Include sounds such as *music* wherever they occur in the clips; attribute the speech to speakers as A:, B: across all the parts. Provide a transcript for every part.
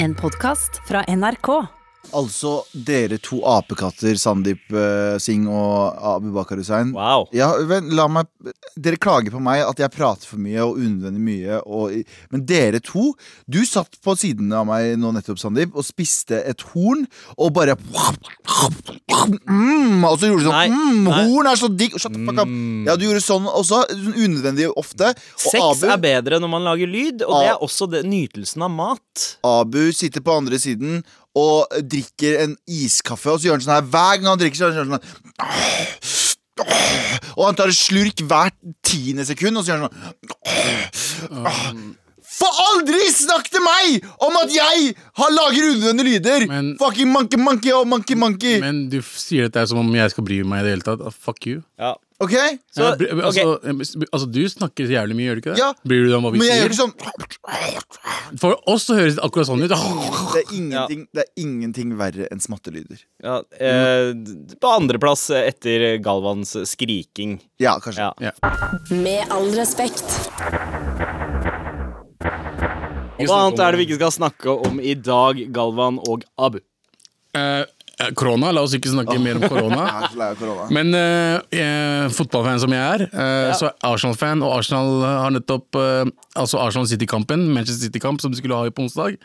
A: En podkast fra NRK.
B: Altså, dere to apekatter, Sandeep eh, Singh og Abubakar Hussein.
C: Wow.
B: Ja, men la meg Dere klager på meg at jeg prater for mye og unødvendig mye. Og, men dere to Du satt på siden av meg nå nettopp, Sandeep, og spiste et horn og bare mm, Og så gjorde du sånn
C: Nei,
B: mm,
C: nei. Mm.
B: Horn er så digg! Shut the fuck up! Ja, du gjorde sånn også. Sånn unødvendig ofte. Og
C: Sex
B: Abu,
C: er bedre når man lager lyd, og det er også det, nytelsen av mat.
B: Abu sitter på andre siden og drikker en iskaffe, og så gjør han sånn her hver gang han drikker. så gjør han sånn her. Og han tar en slurk hvert tiende sekund, og så gjør han sånn Få aldri snakk til meg om at jeg har lager unødvendige lyder!
D: Men-
B: Fucking monkey, monkey og monkey, monkey.
D: Men du f- sier dette er som om jeg skal bry meg i det hele tatt. Ah, Fuck you.
C: Ja.
B: ok?
C: Så,
D: Jeg bry-
C: ok.
D: altså, eh, altså, du snakker så jævlig mye, gjør du ikke det?
B: Ja.
D: Bryr du deg om hva vi
B: Men jeg gjør
D: sier?
B: ikke sånn
D: For oss så høres det akkurat sånn ut. *laughs* Ah.
B: Det er ingenting, det er ingenting verre enn smattelyder.
C: ja, eh, d- på andreplass etter Galvans skriking.
B: Ja, kanskje.
C: Ja.
A: Med all respekt.
D: Ikke
C: Hva
D: snakk
C: annet
D: om-
C: er det vi ikke skal snakke om i dag, Galvan og Abu?
D: Eh, eh, Korona, la oss ikke snakke mer om korona.
B: *laughs* Jeg er så lei av korona.
D: Men eh, eh, fotballfan som jeg er, eh, så er Arsenal-fan, og Arsenal har nettopp eh, Altså Arsenal City-kampen, Manchester City-kamp, som de skulle ha i på onsdag,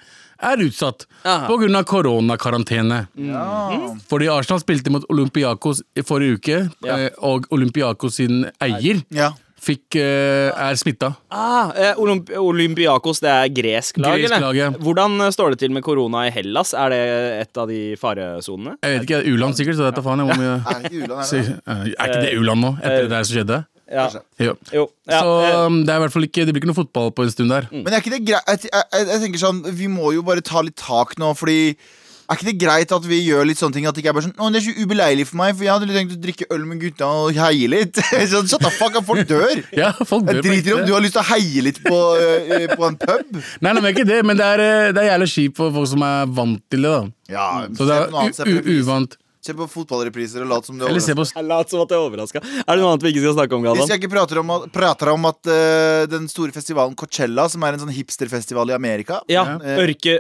D: er utsatt
C: Aha.
D: pga. koronakarantene.
B: Mm. Ja.
D: Fordi Arsenal spilte mot Olympiakos i forrige uke,
C: Ja.
D: eh, og Olympiakos sin eier
B: ja.
D: fikk, eh, er smitta.
C: Ah, eh, Olymp Olympiakos, det er gresk lag,
D: Gresk lag, ja.
C: eller? Hvordan eh, står det til med korona i Hellas? Er det et av de faresonene?
D: Jeg vet ikke, er det u-land sikkert, så vet jeg faen jeg
B: *laughs*
D: hvor mye
B: Er det ikke Ulan
D: Si-
B: her? da?
D: eh, Er ikke det u-land nå, etter det der som skjedde?
C: Ja.
D: Jo.
C: Jo. Ja,
D: så
C: eh,
D: um, det er i hvert fall ikke Det blir ikke noe fotball på en stund der.
B: Men er ikke det greit jeg, jeg, jeg tenker sånn, vi må jo bare ta litt tak nå, fordi er ikke det greit at vi gjør litt sånne ting? At det ikke er bare sånn, å, det er så ubeleilig for meg, for jeg hadde litt tenkt å drikke øl med gutta og heie litt. *laughs* sånn, shut the fuck up, folk dør.
D: *laughs* Ja, folk dør
B: Jeg
D: på
B: driter i om
D: ekte.
B: du har lyst til å heie litt på, eh, på en pub.
D: Nei, nei, men ikke det, men det er, eh, det er jævlig kjipt for folk som er vant til det. da
B: Ja,
D: Mm. Så det er
B: se, på
D: u u uvant.
B: se på fotballrepriser og lat som det
D: Eller se på
C: jeg lat som at jeg er overraska. Er det noe annet vi ikke skal snakke om,
B: Hvis
C: Galvan?
B: jeg ikke prater om at, prater om at eh, den store festivalen Coachella, som er en sånn hipsterfestival i Amerika
C: Ja,
B: Eh,
C: ørke,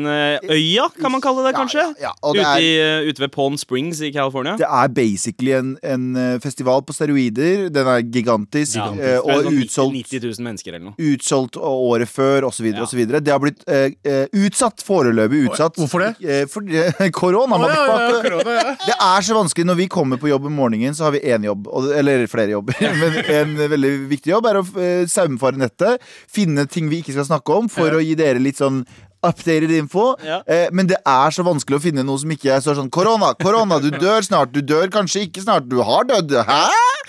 C: Ørkenøya, kan man kalle det,
B: Ja,
C: kanskje?
B: ja, ja, og det
C: Ute,
B: er-
C: i, eh, ute ved Palm Springs i
B: *laughs*
C: California.
B: Det er basically en, en eh, festival på steroider. Den er gigantisk,
C: Ja,
B: eh,
C: det er
B: og
C: sånn
B: utsolgt,
C: 90 000 mennesker eller noe.
B: utsolgt året før osv.
C: Ja.
B: videre Det har blitt eh, eh, utsatt. Foreløpig utsatt.
D: Hvorfor det?
B: Eh, fordi- *laughs* korona,
D: Å, ja, ja,
B: motherfucker.
D: korona, ja.
B: Det er så vanskelig når vi kommer på jobb om morgenen, så har vi én jobb. og- Eller flere jobber. *laughs* Men en veldig viktig jobb er å eh, saumfare nettet. Finne ting vi ikke skal snakke om, for å gi dere litt sånn updated info.
C: Ja.
B: Eh, men det er så vanskelig å finne noe som ikke er så sånn korona, korona, du dør snart, du dør kanskje ikke snart, du har dødd. Hæ?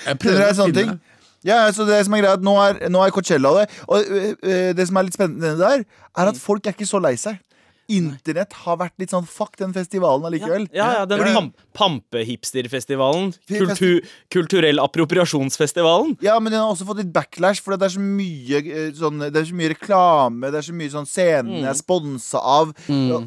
D: Jeg
B: Det
D: prøver
B: er
D: å
B: sånne ting.
D: finne
B: Ja, så det som er greit, Nå er, nå er Coachella det. Og øh, øh, det som er litt spennende der, er
C: Mm.
B: at folk er ikke så lei seg. Internett har vært litt sånn fuck den festivalen allikevel.
C: Ja, ja, den
B: Fordi-
C: pam pampehipsterfestivalen.
B: Vi-
C: Kultur kulturell appropriasjonsfestivalen.
B: Ja, men den har også fått litt backlash, for det er så mye, eh, sånn, det er så mye reklame. Det er så mye sånn
C: Mm.
B: scenene er sponsa av.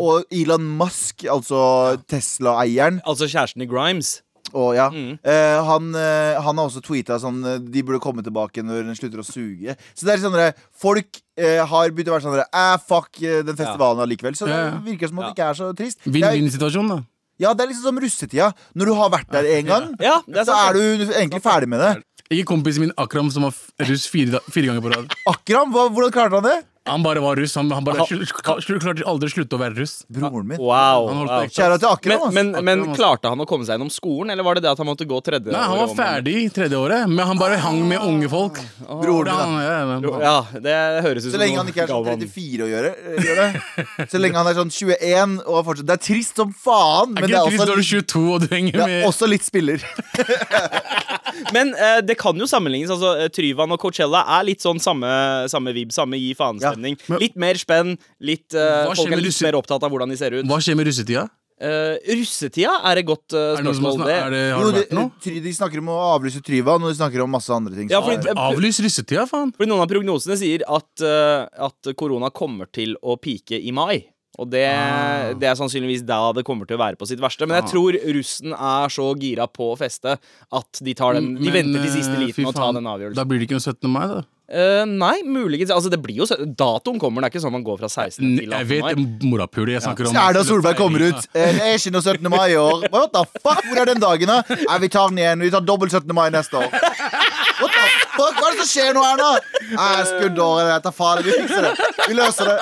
B: Og Elon Musk, altså Tesla-eieren,
C: Altså kjæresten i Grimes.
B: og ja,
C: Mm.
B: eh, han, eh, han har også tweeta sånn eh, De burde komme tilbake når den slutter å suge. Så det er sånn at folk eh, har begynt å være sånn eh, Fuck eh, den festivalen allikevel. Så det
D: Ja, ja.
B: virker som at
C: Ja.
B: det ikke er så trist. Det er,
D: Vinn-vinn-situasjon, da.
B: ja, det er liksom som russetida. Når du har vært der én gang,
C: Ja, det er
B: så
C: sant.
B: er du egentlig ferdig med det.
D: Ikke kompisen min Akram, som var f- russ fire, da- fire ganger på rad.
B: Akram, hva, hvordan klarte han det?
D: Han bare var russ. Han, han bare slu- slu- slu- klarte aldri å slutte å være russ.
B: Broren min.
C: Wow.
D: Han holdt
C: wow.
D: på ekte.
B: Kjære til Akram.
C: Men,
B: ass.
C: men, men
D: Akkurat.
C: klarte han å komme seg gjennom skolen, eller var det det at han måtte gå tredje
D: Nei, Han var
C: året om-
D: ferdig tredje året, men han bare hang med unge folk.
B: Broren min, da.
D: Han- ja, ja, ja.
C: Ja, det høres ut
B: Så lenge han ikke er sånn 34 å gjøre. eh, Gjør det. Så lenge han er sånn 21 og er fortsatt Det er trist som faen,
D: Er
B: men det
D: ikke det
B: er
D: trist når du er
B: også,
D: 22 og du henger
B: det
D: med
B: er også litt spiller.
C: Men eh, det kan jo sammenlignes. altså eh, Tryvann og Coachella er litt sånn samme, samme vib, samme gi faen-stemning.
D: men-
C: Litt mer spenn, litt, eh,
D: Hva skjer
C: folk
D: med
C: er litt
D: russi-
C: mer opptatt av hvordan de ser ut.
D: Hva skjer med russetida?
C: Eh, russetida er et godt eh,
D: Er det noen som har
C: spørsmål.
D: snak-
C: det.
D: er det, har
B: Jo,
D: det
B: de,
D: vært noe?
B: Try- de snakker om å avlyse Tryvann, og de snakker om masse andre ting.
C: Ja,
B: som
C: fordi-
B: er-
D: Avlys russetida, faen!
C: Fordi Noen av prognosene sier at, eh, at korona kommer til å pike i mai. Og det,
D: Ah.
C: det er sannsynligvis da det kommer til å være på sitt verste. Men jeg
D: Ah.
C: tror russen er så gira på å feste at de, tar den, de
D: Men,
C: venter til
D: eh,
C: siste
D: fy
C: liten og tar
D: faen,
C: den avgjørelsen.
D: Da blir det ikke noe 17. mai, da.
C: Eh, nei, muligens. Altså, det blir jo sø- Datoen kommer, det er ikke sånn man går fra 16. til 18.
D: Jeg vet
C: mai.
D: morapule jeg snakker om.
B: Erna Solberg kommer ut.
D: *laughs*
B: Eh, Det er ikke noe 17. mai i år. What the fuck, Hvor er den dagen, da? Nei, vi tar den igjen. Vi tar dobbelt 17. mai neste år. What the fuck, Hva er det som skjer nå, Erna? Nei, skuddåret. Jeg tar faen. Vi fikser det. Vi løser det.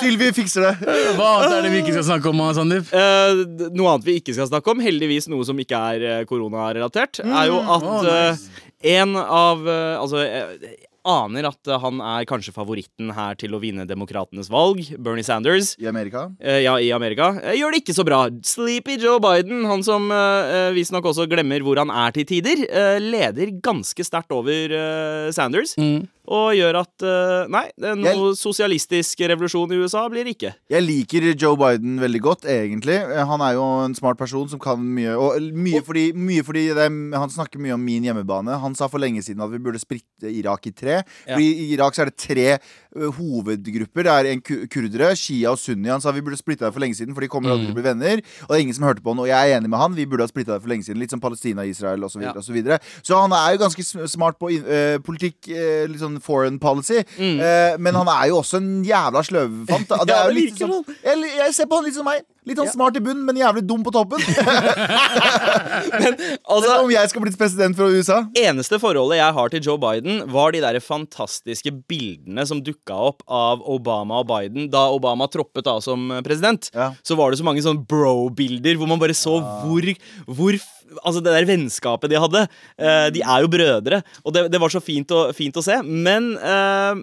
B: Sylvi fikser det.
D: Hva annet er det vi ikke skal snakke om, Sandeep?
C: Eh, d- noe annet vi ikke skal snakke om, heldigvis noe som ikke er eh, koronarelatert, er jo at
D: Mm. Å, nice.
C: eh, en av eh, Altså, jeg aner at eh, han er kanskje favoritten her til å vinne demokratenes valg, Bernie Sanders.
B: I Amerika?
C: Eh, ja, i Amerika. Eh, gjør det ikke så bra. Sleepy Joe Biden, han som uh, visstnok også glemmer hvor han er til tider, eh, leder ganske sterkt over eh, Sanders. Og gjør at eh, Nei, det er noe sosialistisk revolusjon i USA blir det ikke.
B: Jeg liker Joe Biden veldig godt, egentlig. Eh, Han er jo en smart person som kan mye. Og mye fordi, mye fordi det er, Han snakker mye om min hjemmebane. Han sa for lenge siden at vi burde spritte Irak i tre.
C: Ja.
B: Fordi I Irak så er det tre ø, hovedgrupper. Det er en ku- kurdere, Shia og Sunni. Han sa vi burde splitte deg for lenge siden, for de kommer
C: Mm.
B: aldri til å bli venner. Og det er ingen som hørte på han, og jeg er enig med han. Vi burde ha splitta deg for lenge siden. Litt som Palestina, Israel osv. Så, videre,
C: Ja.
B: og så, videre. så han er jo ganske sm- smart på in- ø, politikk, ø, litt sånn foreign policy.
C: Mm.
B: Eh, men han er jo også en jævla sløvefant. da. Det
C: Ja,
B: er jo
C: det
B: litt
C: virker
B: sånn, jeg, jeg ser på han litt som meg. Litt sånn smart i bunnen, men jævlig dum på *laughs* toppen.
C: Altså,
B: Om jeg skal blitt president fra USA.
C: eneste forholdet jeg har til Joe Biden, var de der fantastiske bildene som dukka opp av Obama og Biden da Obama troppet av som president.
B: Ja.
C: Så var det så mange sånne bro-bilder hvor man bare så hvor, hvor f- Altså det der vennskapet de hadde. Eh, de er jo brødre, og det, det var så fint å, fint å se. Men eh,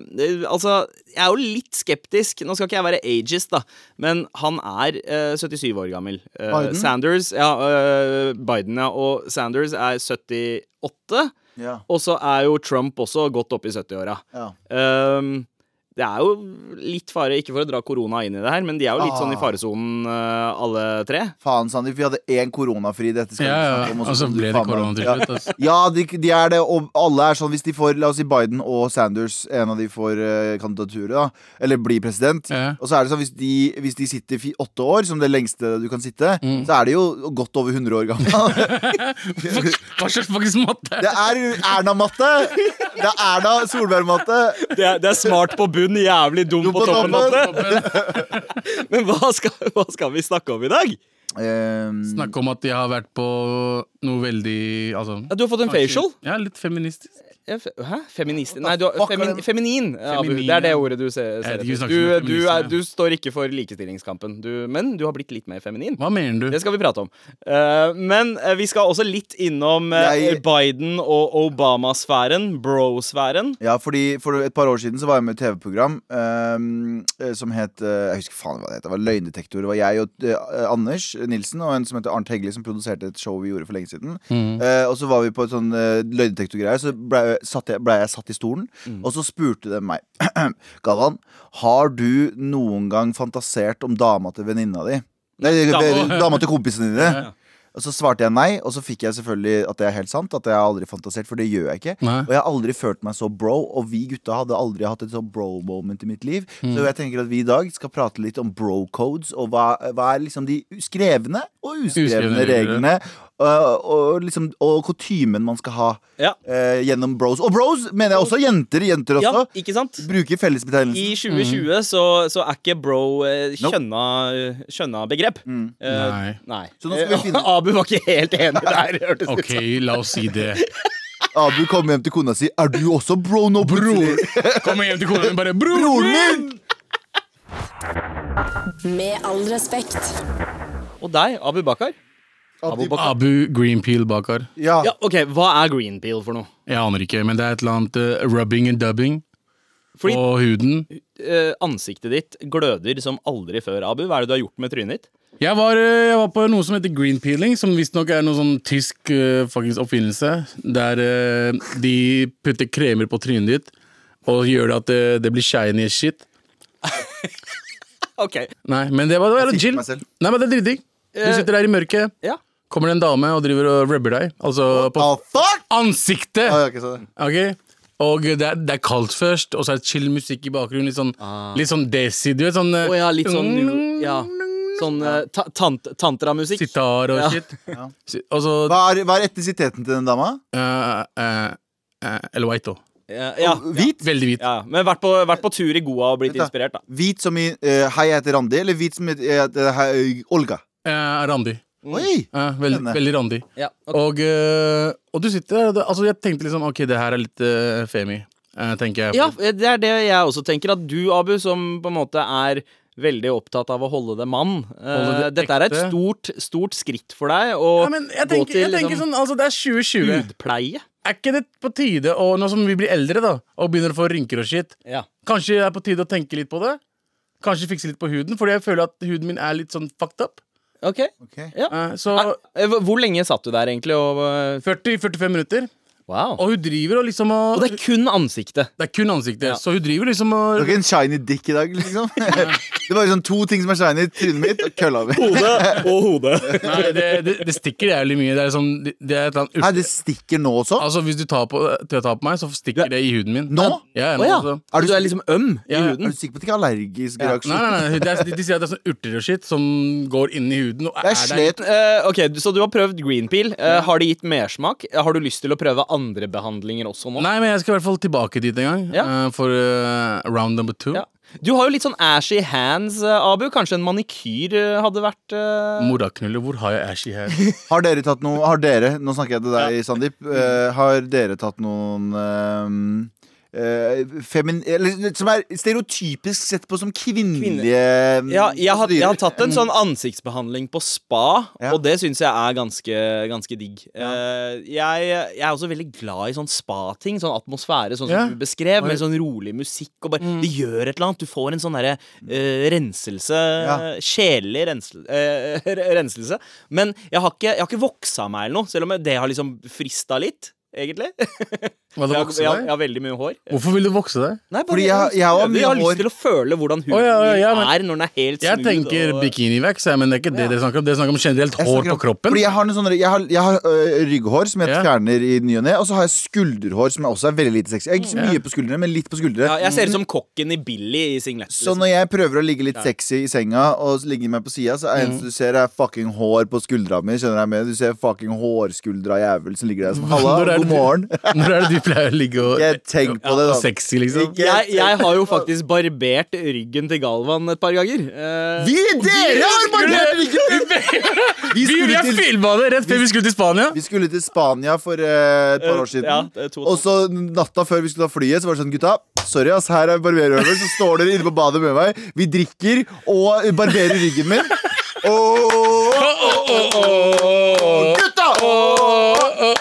C: altså Jeg er jo litt skeptisk. Nå skal ikke jeg være ageist, da, men han er eh, 77 år gammel. Eh,
B: Biden?
C: Sanders, ja, øh, Biden ja, og Sanders er 78,
B: Ja.
C: og så er jo Trump også godt opp i 70-åra.
B: Ja.
C: Ehm, det er jo litt fare, ikke for å dra korona inn i det her, men de er jo litt
B: Ah.
C: sånn i faresonen, øh, alle tre.
B: Faen, Sandeep, vi hadde én koronafri. Dette skal
D: Ja,
B: vi
D: ja.
B: snakke om.
D: Og så
B: kan du
D: ble det
B: faen meg-
D: korona til
B: Ja.
D: slutt. altså. ass.
B: Ja, de, de er det, og alle er sånn Hvis de får, la oss si Biden og Sanders En av de får eh, kandidaturet da Eller blir president
D: Ja.
B: Og så er det sånn, hvis de, hvis de sitter fi- åtte år Som det lengste du kan sitte
D: Mm.
B: Så er de jo godt over 100 år gammel
D: *laughs* Hva slags faktisk matte?
B: Det er Erna-matte Det er Erna Solberg-matte
C: Det er, smart på bunn, jævlig dum
B: Dum på på toppen, toppen.
C: *laughs* Men hva skal, hva skal vi snakke om i dag?
B: Ehm,
D: Snakk om at jeg har vært på noe veldig altså,
C: Ja, Du har fått en facial.
D: Ja, litt feministisk.
C: Ja, fe- Hæ? Feminist Nei, du har,
B: fuck
C: femin,
B: er det?
C: feminin. ja, Abu.
D: Feminin,
C: det er det
D: ja.
C: ordet du ser.
D: vet
C: ser
D: ikke, vi
C: etter.
D: snakker ikke om
C: Du, du, er,
D: feminisme,
C: du står ikke for likestillingskampen, du, men du har blitt litt mer feminin.
D: Hva mener du?
C: Det skal vi prate om. Eh, men eh, vi skal også litt innom eh,
B: Jeg-
C: Biden og Obama-sfæren, bro-sfæren.
B: Ja, fordi for et par år siden så var jeg med i et TV-program ehm, eh, som het eh, Jeg husker faen hva det het. Det var Løgndetektor. Det var jeg og eh, Anders Nilsen og en som heter Arnt Heggeli, som produserte et show vi gjorde for lenge siden. Eh, og så var vi på et sånn uh, løgndetektorgreie, så blei satt jeg, ble jeg satt i stolen, og så spurte de meg *clears throat* Galvan, har du noen gang fantasert om dama til venninna di? Nei,
C: Dama.
B: dama til kompisene dine. Og så svarte jeg nei, og så fikk jeg selvfølgelig at det er helt sant. At jeg har aldri fantasert, for det gjør jeg ikke.
D: Nei.
B: Og jeg har aldri følt meg så bro, og vi gutta hadde aldri hatt et sånn bro-moment i mitt liv.
D: Mm.
B: Så jeg tenker at vi i dag skal prate litt om bro-codes, og hva, hva er liksom de skrevne og uskrevne
D: Uskrevne regler.
B: reglene, og, og liksom og kutymen man skal ha
C: Ja.
B: eh, gjennom bros. Og bros mener jeg også jenter. Jenter
C: ja,
B: også.
C: ikke sant?
B: Bruker fellesbetegnelsen.
C: I 2020 så, så er ikke bro eh,
B: Mm. Nope. Mm.
C: kjønna, kjønna begrep. Eh,
D: Nei.
C: nei.
B: Så nå skal vi
C: Eh,
B: finne-
C: *laughs* Abu var ikke helt
B: *laughs*
C: enig der, hørtes det ut
D: Ok, la oss si det.
B: Abu kommer hjem til kona si. Er du også bro nå,
D: Bror!
B: bror? *laughs*
D: Kommer hjem til kona mi bare Bror!
B: Broren min!
A: Med all respekt.
C: som. Og deg, Abu Bakar. Abu Bakar.
D: Abu Greenpeel Bakar.
B: Ja.
C: Ja, ok, Hva er green peel for noe?
D: Jeg aner ikke, men det er et eller annet eh, rubbing and dubbing
C: Fordi
D: på huden.
C: eh, ansiktet ditt gløder som aldri før, Abu. Hva er det du har gjort med trynet ditt?
D: Jeg var, eh, jeg var på noe som heter green peeling, som visstnok er noe sånn tysk eh, fuckings oppfinnelse. Der eh, de putter kremer på trynet ditt og gjør det at det, det blir shiny as shit.
C: Ok,
D: Nei, men det var, det var
B: Jeg
D: chill.
B: sikter meg selv.
D: Nei, men det er dritdigg. Du
C: Eh.
D: sitter der i mørket,
C: ja
D: kommer det en dame og driver og rubber deg. Altså på
B: Ah, fuck!
D: ansiktet!
B: Ah, jeg har ikke sett det.
D: Ok og det er, det er kaldt først, og så er det chill musikk i bakgrunnen. Litt sånn, litt sånn desi, du vet. Sånn eh,
C: Å ja, litt sånn
D: mm,
C: ja. Sånn eh, ta tant tantramusikk.
D: sitar og
C: Ja.
D: shit. Si- Og så
B: Hva er, hva er etnisiteten til den dama?
D: eh, eh, eh, El White, da.
C: Ja, ja,
B: Hvit?
D: Veldig hvit.
C: ja. Men vært på, vært på tur i Goa og blitt inspirert, da.
B: Hvit som i eh, Hei, jeg heter Randi, eller hvit som i eh, hei, Olga?
D: Eh, Randi.
B: Oi!
D: Eh, veldig,
B: Spennende.
D: veldig randig.
C: Ja, ok.
D: Og, eh, og du sitter der og det- Altså, jeg tenkte liksom ok, det her er litt eh, femi, eh, tenker jeg.
C: Ja, det er det jeg også tenker. At du, Abu, som på en måte er veldig opptatt av å holde det mann eh,
D: Holde det
C: Dette er et
D: ekte.
C: stort, stort skritt for deg å liksom,
D: Ja, men jeg tenker, jeg tenker sånn, altså Det er 2020.
C: hudpleie.
D: Er ikke det på tide, og nå som vi blir eldre da og begynner å få rynker og shit,
C: Ja.
D: kanskje det er på tide å tenke litt på det? Kanskje fikse litt på huden, fordi jeg føler at huden min er litt sånn fucked up.
C: Ok.
B: Ok.
C: Ja.
D: Eh, så
C: Er- eh, hvor- Hvor lenge satt du der, egentlig? Og, eh,
D: 40-45 minutter.
C: wow.
D: Og hun driver og liksom
C: Og
D: og,
C: det er kun ansiktet.
D: Det er kun ansiktet.
C: Ja.
D: Så hun driver liksom og
B: Du har ikke en shiny dick i dag, liksom?
D: *laughs*
B: Det var sånn to ting som er shiny. Trynet mitt og kølla
D: *laughs*
B: mi.
C: Hodet og *laughs* hodet.
D: Nei, det, det, det stikker jævlig mye. Det er sånn Det det er et eller annet
B: Nei, det stikker nå også?
D: Altså, hvis du tar på, til å ta på meg, så stikker det i huden min.
B: Nå?
D: Ja,
C: Å
D: nå
C: ja.
D: altså.
C: Er du, du er liksom øm i
D: Ja, ja.
B: Er
C: huden?
B: du sikker på at det ikke er allergisk
D: Nei,
B: reaksjon?
D: nei, nei. Det er, de, de sier at det er sånn urter og shit som går inn i huden. Og
B: Jeg
D: der-
B: slet
C: Eh, ok, du- Så du har prøvd green peel. Eh, har det gitt mersmak? Eh, Har du lyst til å prøve andre behandlinger også nå?
D: Nei, men jeg skal i hvert fall tilbake dit en gang.
C: Ja.
D: eh, for eh, round number two.
C: Ja. Du har jo litt sånn ashy hands, eh, Abu. Kanskje en manikyr eh, hadde vært eh,
D: Moraknuller, hvor har jeg
C: *laughs*
D: ashy her?
B: Har dere tatt noe Har dere, nå snakker jeg til deg, Sandeep. eh, har dere tatt noen eh, eh, femin... Eller som er stereotypisk sett på som kvinnelige
C: Ja, jeg har, jeg har
B: prosedyrer?
C: tatt en sånn ansiktsbehandling på spa,
B: Ja.
C: og det syns jeg er ganske, ganske digg. Eh, jeg, jeg er også veldig glad i sånn spating, sånn atmosfære, sånn som
D: Ja.
C: du beskrev, med
D: Oi. Mm.
C: sånn rolig musikk og bare Det gjør et eller annet. Du får en sånn derre eh, renselse Sjelelig rensel, eh, renselse. Men jeg har ikke, jeg har ikke voksa meg eller noe, selv om det har liksom frista litt, egentlig.
D: Hva,
C: Jeg
D: det
C: har,
D: vokser
C: jeg, har,
D: deg?
C: jeg har veldig mye hår.
D: Hvorfor vil det vokse deg?
C: Nei, bare
B: Fordi jeg- jeg har mye
C: har
B: hår.
C: lyst til å føle hvordan huden
D: Å, ja, ja, ja,
C: min
D: men-
C: er når den er helt
D: Jeg
C: smooth.
D: tenker
C: og-
D: bikinivax, jeg, men det er ikke det dere snakker om. Dere snakker om generelt
B: Jeg
D: hår
B: snakker
D: på
B: om-
D: kroppen.
B: Fordi jeg har, noen sånne, jeg har, jeg har øh, rygghår som jeg
D: Ja.
B: fjerner i ny og ne, og så har jeg skulderhår som jeg også er veldig lite sexy. Jeg er ikke så
D: Ja.
B: mye på skuldrene, men litt på skuldre.
C: Ja, jeg ser ut som kokken i Billy i singlet.
B: Så
C: Liksom.
B: når jeg prøver å ligge litt sexy i senga og ligge meg på sida, så er det
D: Mhm.
B: eneste du ser, er fucking hår på skuldra mi. Skjønner du hva jeg mener? Du ser fucking hårskuldra jævel som ligger der
D: *laughs*
B: som Halla,
D: Når er det
B: god
D: du-
B: morgen.
D: *laughs* *laughs* Når er det du pleier å ligge og,
B: Ikke tenk på det, da.
D: og sexy, liksom?
B: Ikke-
C: Jeg, jeg har jo faktisk barbert ryggen til Galvan et par ganger. Eh,
B: Vi, dere har barbert
D: Vi,
B: Vi
D: vi
B: skulle
D: har
B: til,
D: filma det rett før vi skulle til Spania!
B: vi skulle til Spania for eh, et par år
C: Ja,
B: siden.
C: det er to
B: Og så natta før vi skulle ta flyet, så var det sånn Gutta, sorry, ass, her er barberøver. Så står dere inne på badet med meg. Vi drikker og barberer ryggen
D: *laughs*
B: min. Åh, gutta!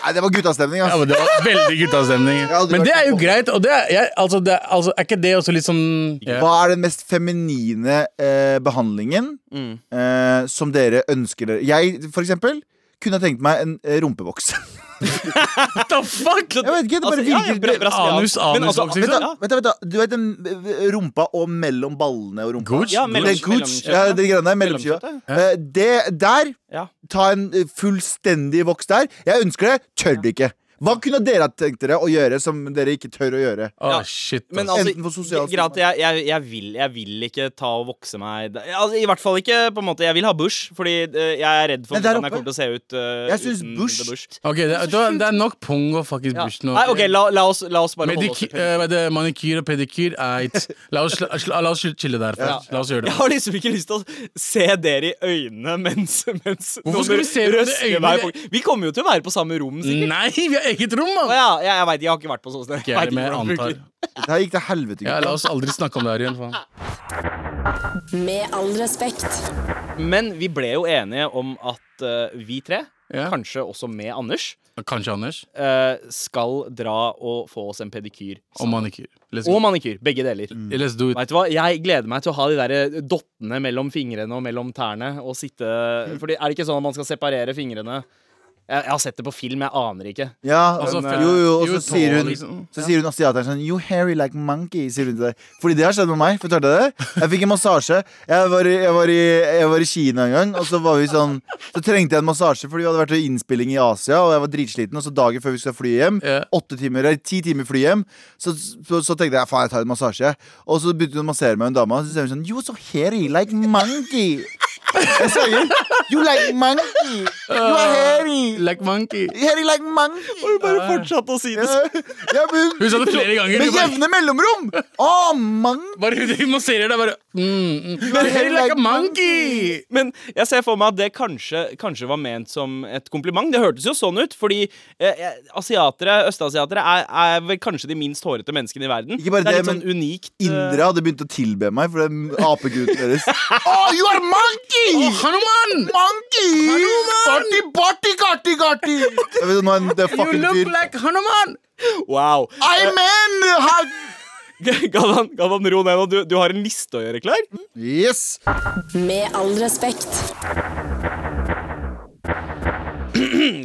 B: Nei, det var guttastemning,
D: Ja,
B: ass.
D: men Det var veldig guttastemning.
B: Jeg har aldri
D: Men det
B: vært
D: er jo
B: på-
D: greit. Og det er, jeg, altså, det er, altså, er ikke det også litt sånn
B: Hva er den mest feminine eh, behandlingen
C: Mm.
B: eh, som dere ønsker dere? Jeg, for eksempel, kunne ha tenkt meg en eh, rumpevoks. *laughs*
D: What the fuck?!
B: Jeg vet ikke, det bare
C: Altså, ja, ja,
B: virker
C: bra- brasiliansk.
D: Anus,
C: Men
D: anus, vokser,
B: Vent
C: ja,
B: da, vent da, vent da. Du vet den eh, rumpa og mellom ballene og rumpa?
D: Gooch?
C: Ja,
D: Gooch.
B: Det er Gooch. Ja, det greiene der. Mellomskiva. Eh, Det der
C: Ja.
B: Ta en eh, fullstendig voks der. Jeg ønsker det, tør det ikke. Hva kunne dere ha tenkt dere å gjøre som dere ikke tør å gjøre?
D: Å,
C: Ja.
D: shit.
C: Men
D: ass.
C: altså,
B: Enten for sosial
C: gre- greit, jeg, jeg, jeg, vil, jeg vil ikke ta og vokse meg da- altså, I hvert fall ikke på en måte Jeg vil ha bush, fordi eh, jeg er redd for
B: Men der
C: hvordan jeg
B: oppe?
C: kommer til å se ut eh,
B: Jeg synes
C: uten
B: bush-
C: the bush.
D: Ok, det, er- det er- det er nok pung og
C: altså,
D: fuckings
C: Ja.
D: bush nå.
C: Nei, ok, la, la, oss, la oss bare holde oss
D: Mediky,
C: til penis.
D: eh, hva er det, manikyr og pedikyr eit. La oss, sla- sla- la oss chille der først. La oss gjøre det.
C: Jeg har liksom ikke lyst til å se dere i øynene mens, mens
D: Hvorfor skal
C: noen
D: vi se hverandre i
C: røsker
D: øynene?
C: meg på- Vi kommer jo til å være på samme rom, sikkert.
D: Nei, vi har eget rom,
C: Å
D: mann!
C: ja, ja, jeg veit, jeg har ikke vært på sånn sted.
D: Ok, jeg er med, jeg antar.
B: Dette her gikk til helvete.
D: Ja,
B: gutta.
D: la oss aldri snakke om det her igjen, faen.
A: Med all respekt.
C: Men vi ble jo enige om at eh, vi tre,
D: Ja.
C: kanskje også med Anders,
D: Kanskje Anders.
C: eh, skal dra og få oss en pedikyr.
D: Og Mm. manikyr. Let's,
C: Sånn. Og
D: go.
C: manikyr. Begge deler.
D: Let's do it.
C: Vet du hva, Jeg gleder meg til å ha de der eh, dottene mellom fingrene og mellom tærne. Og sitte
D: Mm.
C: Fordi Er det ikke sånn at man skal separere fingrene? Jeg, jeg har sett det på film, jeg aner ikke.
B: Ja,
D: Altså,
B: men, eh, jo, jo, og
D: jo,
B: så sier hun
D: liksom.
B: Så sier hun asiateren sånn You hairy like monkey, sier hun til deg. Fordi det har skjedd med meg. Fortalte jeg det? Jeg fikk en massasje. Jeg var, i, jeg, var i, jeg var i Kina en gang, og så var vi sånn Så trengte jeg en massasje fordi vi hadde vært i innspilling i Asia, og jeg var dritsliten, og så dagen før vi skulle fly hjem,
D: Ja.
B: åtte timer, eller ti timer fly hjem, så, så, så tenkte jeg faen, jeg tar en massasje. Og så begynte hun å massere meg, hun dama, og så sier hun sånn You so hairy like monkey. Jeg sier You like monkey. Du er hairy!
D: Like monkey.
B: Hairy like monkey!
C: Du bare fortsatte å si det. så-
B: Ja, men,
D: Hun sa det flere ganger.
B: med jevne mellomrom! Å, mang!
D: Bare Hun masserer deg bare mm, mm. Very like a monkey!
C: Men jeg ser for meg at det kanskje, kanskje var ment som et kompliment. Det hørtes jo sånn ut, fordi eh, eh, asiatere, østasiatere er, er vel kanskje de minst hårete menneskene i verden.
B: Ikke bare
C: det er
B: det,
C: litt sånn unikt. eh,
B: Indre hadde begynt å tilbe meg for den apeguden
D: *laughs*
B: deres. Oh, you are monkey!
D: Hanuman!
B: Monkey! Party, party, garty, garty! Jeg vet, nå er det en
D: You
B: fucking
D: look
B: dyr.
D: like Hanuman!
C: Wow. *laughs*
B: I man! How...
C: Galvan, Galvan ro ned nå. Du, du har en liste å gjøre klar.
B: Yes!
A: Med all respekt.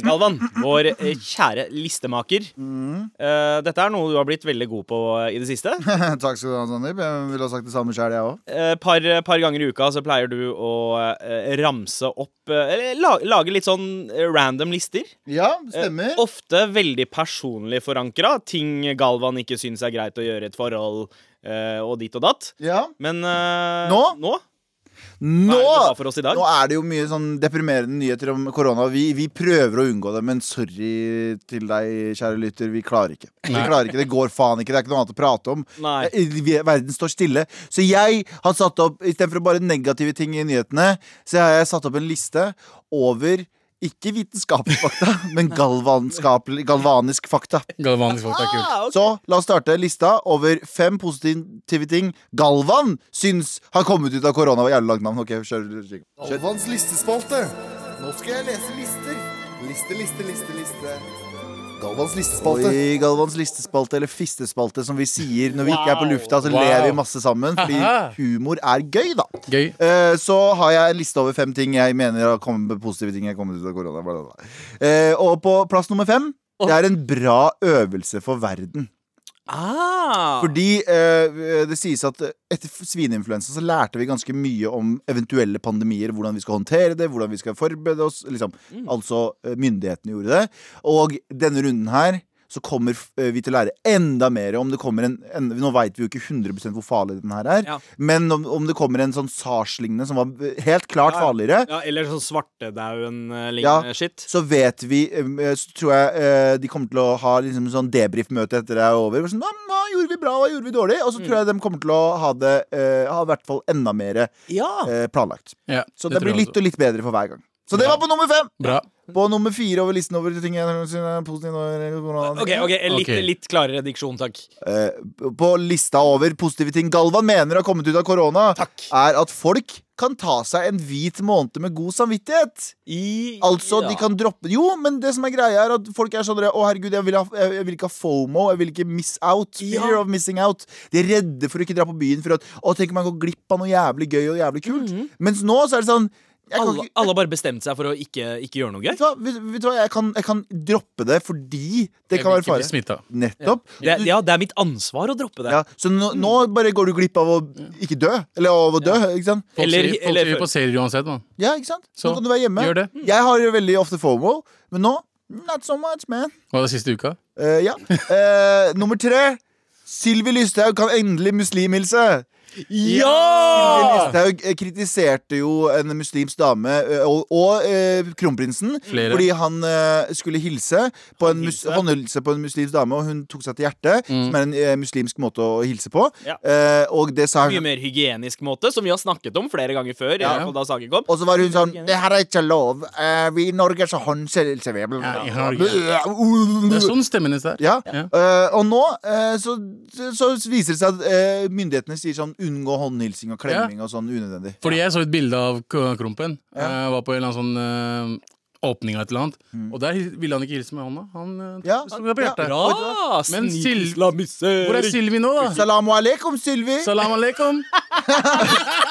C: Galvan, vår eh, kjære listemaker.
B: Mm.
C: Eh, dette er noe du har blitt veldig god på eh, i det siste.
B: *laughs* *laughs* Takk skal du ha, Sandeep. Jeg ville ha sagt det samme sjøl, jeg òg.
C: Eh, par, par ganger i uka så pleier du å eh, ramse opp eh, Eller la, lage litt sånn eh, random lister.
B: Ja,
C: Eh,
B: stemmer.
C: Ofte veldig personlig forankra. Ting Galvan ikke syns er greit å gjøre i et forhold, eh, og dit og datt.
B: Ja.
C: Men eh,
B: Nå?
C: nå?
B: Nå,
C: Hva er det du har for oss i dag?
B: nå er det jo mye sånn deprimerende nyheter om korona. Vi, vi prøver å unngå det, men sorry til deg, kjære lytter. Vi klarer ikke. Vi klarer ikke, Det går faen ikke. Det er ikke noe annet å prate om.
C: Nei.
B: Eh, vi- Verden står stille. Så jeg har satt opp, istedenfor bare negative ting i nyhetene, så har jeg satt opp en liste over ikke vitenskapelige fakta, *laughs* men galvanskapel- galvanisk fakta.
D: Galvanisk folk er kult.
C: Ah, ok.
B: Så la oss starte lista over fem positive ting Galvan syns har kommet ut av korona. Det var jævlig langt navn. Ok, kjør, kjør.
E: Alvans listespalte. Nå skal jeg lese lister. Liste, liste, liste, liste. Galvans listespalte.
B: Oi, Galvans listespalte, eller fistespalte, som vi sier når vi ikke er på lufta. Så
D: Wow.
B: ler vi masse sammen, fordi
D: Aha.
B: humor er gøy, da.
D: Gøy.
B: Eh, Så har jeg en liste over fem ting jeg mener har kommet med positive ting jeg har kommet ut av korona. bla, bla, bla. Eh, Og på plass nummer fem det er en bra øvelse for verden.
C: Ah.
B: Fordi eh, det sies at etter svineinfluensa så lærte vi ganske mye om eventuelle pandemier. Hvordan vi skal håndtere det, hvordan vi skal forberede oss. Liksom. Altså eh, myndighetene gjorde det. Og denne runden her så kommer eh, vi til å lære enda mer om det kommer en, en Nå veit vi jo ikke 100 hvor farlig den her er,
C: Ja.
B: men om, om det kommer en sånn SARS-lignende som var eh, helt klart
C: Ja, ja.
B: farligere,
C: Ja, eller sånn svartedauden-lignende
B: Ja.
C: shit.
B: så vet vi um, eh, Så tror jeg eh, de kommer til å ha liksom sånn debrief-møte etter det er over. Sånn, hva, hva gjorde vi bra, hva gjorde vi dårlig? Og så tror jeg de kommer til å ha det eh, Ha i hvert fall enda mer
C: Ja.
B: eh, planlagt.
D: Ja,
B: Så det,
D: tror
B: blir
D: jeg
B: litt
D: også.
B: og litt bedre for hver gang. Så det var på nummer fem!
D: Bra.
B: På nummer fire over listen over ting jeg synes er positive nå- korona-
C: OK, ok, litt,
D: Ok.
C: litt klarere diksjon, takk.
B: Eh, På lista over positive ting Galvan mener har kommet ut av korona, er at folk kan ta seg en hvit måned med god samvittighet.
C: I,
B: Altså,
C: ja.
B: de kan droppe Jo, men det som er greia, er at folk er sånn Å, herregud, jeg vil, ha, jeg, jeg vil ikke ha FOMO. Jeg vil ikke miss out. Fear
C: Ja.
B: of missing out. De er redde for å ikke dra på byen. For at, å, tenk om jeg går glipp av noe jævlig gøy og jævlig kult. Mens nå så er det sånn jeg kan
C: Mhm. alle,
B: ikke,
C: alle har bare bestemt seg for å ikke, ikke gjøre noe
B: vet,
C: gøy.
B: du hva, vet, vet du hva, jeg kan, jeg kan droppe det fordi det kan
D: Jeg vil
B: være
D: ikke bli
B: fare.
D: smittet.
B: Nettopp.
C: Det, er- ja, det er mitt ansvar å droppe det.
B: Ja, så nå, nå bare går du glipp av å ikke dø. Eller av å dø, ikke sant?
D: Folk
C: Eller-
D: ser- folk
C: eller-
D: ser jo på serier uansett, mann.
B: Ja, ikke sant?
D: Så,
B: nå kan du være hjemme.
D: gjør det.
B: Jeg har jo veldig ofte FOMO, men nå not so much, man.
D: Hva er det siste uka?
B: Eh, ja. Eh, nummer tre. Sylvi Lysthaug kan endelig muslimhilse. Sylvi
C: Ja!
B: Lysthaug eh, kritiserte jo en muslimsk dame eh, og, og eh, kronprinsen
D: Flere.
B: fordi han eh, skulle hilse på en, mus
C: hilse.
B: håndhilse på en muslimsk dame, og hun tok seg til hjertet,
D: Mm.
B: som er en eh, muslimsk måte å hilse på.
C: Ja.
B: Eh, og det sa
C: Mye
B: hun
C: mer hygienisk måte, som vi har snakket om flere ganger før. I
D: Ja.
C: hvert fall da saken kom
B: og så var hun sånn Det her er ikke lov. Eh, vi I Norge så håndhilser vi. Blah,
D: Ja, i
B: blah,
D: Norge.
B: blah.
D: Det er sånn stemmen hennes er.
B: Ja,
D: Ja.
B: eh, og nå eh, så, så viser det seg at eh, myndighetene sier sånn unngå håndhilsing og klemming og sånn unødvendig.
D: Fordi jeg så et bilde av K- Krompen.
B: Ja. Mm.
D: Jeg var på en eller annen sånn eh, åpning av et eller annet. Og der hil- ville han ikke hilse med hånda. Han eh,
B: Ja.
D: sto med på
B: Ja.
D: hjertet.
C: Bra!
D: Men
C: snik-
D: Sil-
C: islamisering.
D: Hvor er Silvi nå, da?
B: Salamu alaikum, Sylvi!
D: Salam
B: *laughs*
D: aleikum.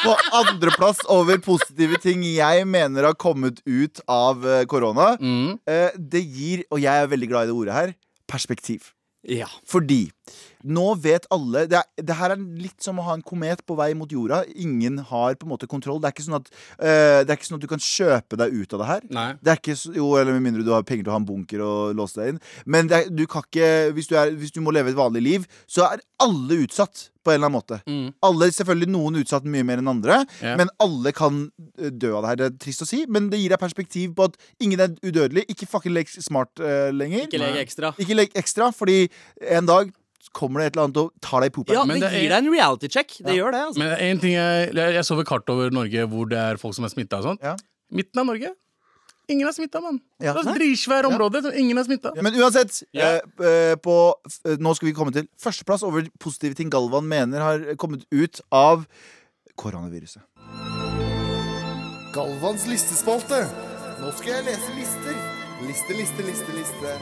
B: På andreplass over positive ting jeg mener har kommet ut av eh, korona.
D: Mm.
B: Eh, det gir, og jeg er veldig glad i det ordet her, perspektiv.
C: Ja.
B: Fordi Nå vet alle det, er, det her er litt som å ha en komet på vei mot jorda. Ingen har på en måte kontroll. Det er ikke sånn at, eh, det er ikke sånn at du kan kjøpe deg ut av det her.
D: Nei.
B: Det er ikke, s- jo, eller Med mindre du har penger til å ha en bunker og låse deg inn. Men det er, du kan ikke, hvis du, er, hvis du må leve et vanlig liv, så er alle utsatt på en eller annen måte.
D: Mm.
B: Alle, selvfølgelig Noen utsatt mye mer enn andre,
D: Ja.
B: men alle kan eh, dø av det her. Det er trist å si, men det gir deg perspektiv på at ingen er udødelig. Ikke fucking lek smart eh, lenger.
C: Ikke lek ekstra.
B: Ikke legg ekstra, fordi en dag kommer det et eller annet og tar deg i popen.
C: Ja,
D: Men
C: det
D: det er-
C: gir deg en reality check. Det gjør det. altså
D: Men en ting jeg, jeg, jeg så et kart over Norge hvor det er folk som er smitta og sånn.
B: Ja.
D: Midten av Norge. Ingen er smitta, mann.
B: Ja.
D: Det er dritsvære områder som ingen er smitta.
B: Men uansett,
C: Ja.
B: eh, eh, på, eh, nå skal vi komme til førsteplass over positive ting Galvan mener har kommet ut av koronaviruset.
E: Galvans listespalte. Nå skal jeg lese lister. Liste, liste, liste, liste.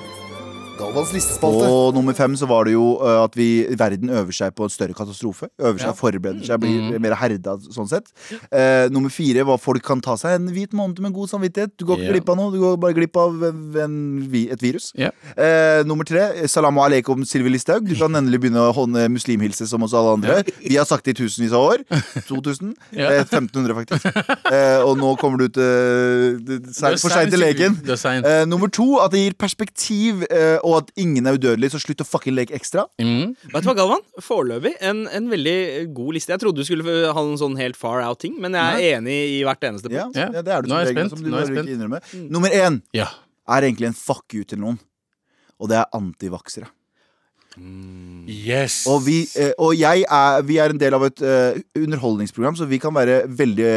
E: Galvans listespalte.
B: Og nummer fem så var det jo eh, at vi, verden øver seg på en større katastrofe. Øver seg, forbereder seg, blir mer herda sånn sett. Eh, nummer fire var folk kan ta seg en hvit måned med god samvittighet. Du går ikke
D: Ja.
B: glipp av noe, du går bare glipp av en, en vi- et virus.
D: Ja.
B: Eh, nummer tre, salam aleikum Sylvi Listhaug. Du kan endelig begynne å hånde muslimhilse som oss alle andre. Vi har sagt det i tusenvis av år. 2000.
D: *laughs* Ja.
B: Eh, 1500, faktisk. Eh, og nå kommer du til det-
D: Det er
B: For seint til
D: sent,
B: leken.
D: Sigurd. Det er sent.
B: Eh, nummer to, at det gir perspektiv, eh, og at ingen er udødelig, så slutt å fucking leke ekstra.
D: Mm.
C: Vet du hva, Galvan? Foreløpig en, en veldig god liste. Jeg trodde du skulle ha en sånn helt far out-ting, men jeg er enig i hvert eneste punkt.
B: Ja,
D: Ja.
B: ja, det er du
D: Nå er
B: som
D: jeg
B: regel,
D: spent.
B: som du
D: Nå er jeg
B: bare ikke innrømmer. Nummer én
D: Ja.
B: er egentlig en fuck you til noen. Og det er antivaksere.
D: Yes.
B: Og, vi, eh, og jeg er, vi er en del av et eh, underholdningsprogram, så vi kan være veldig,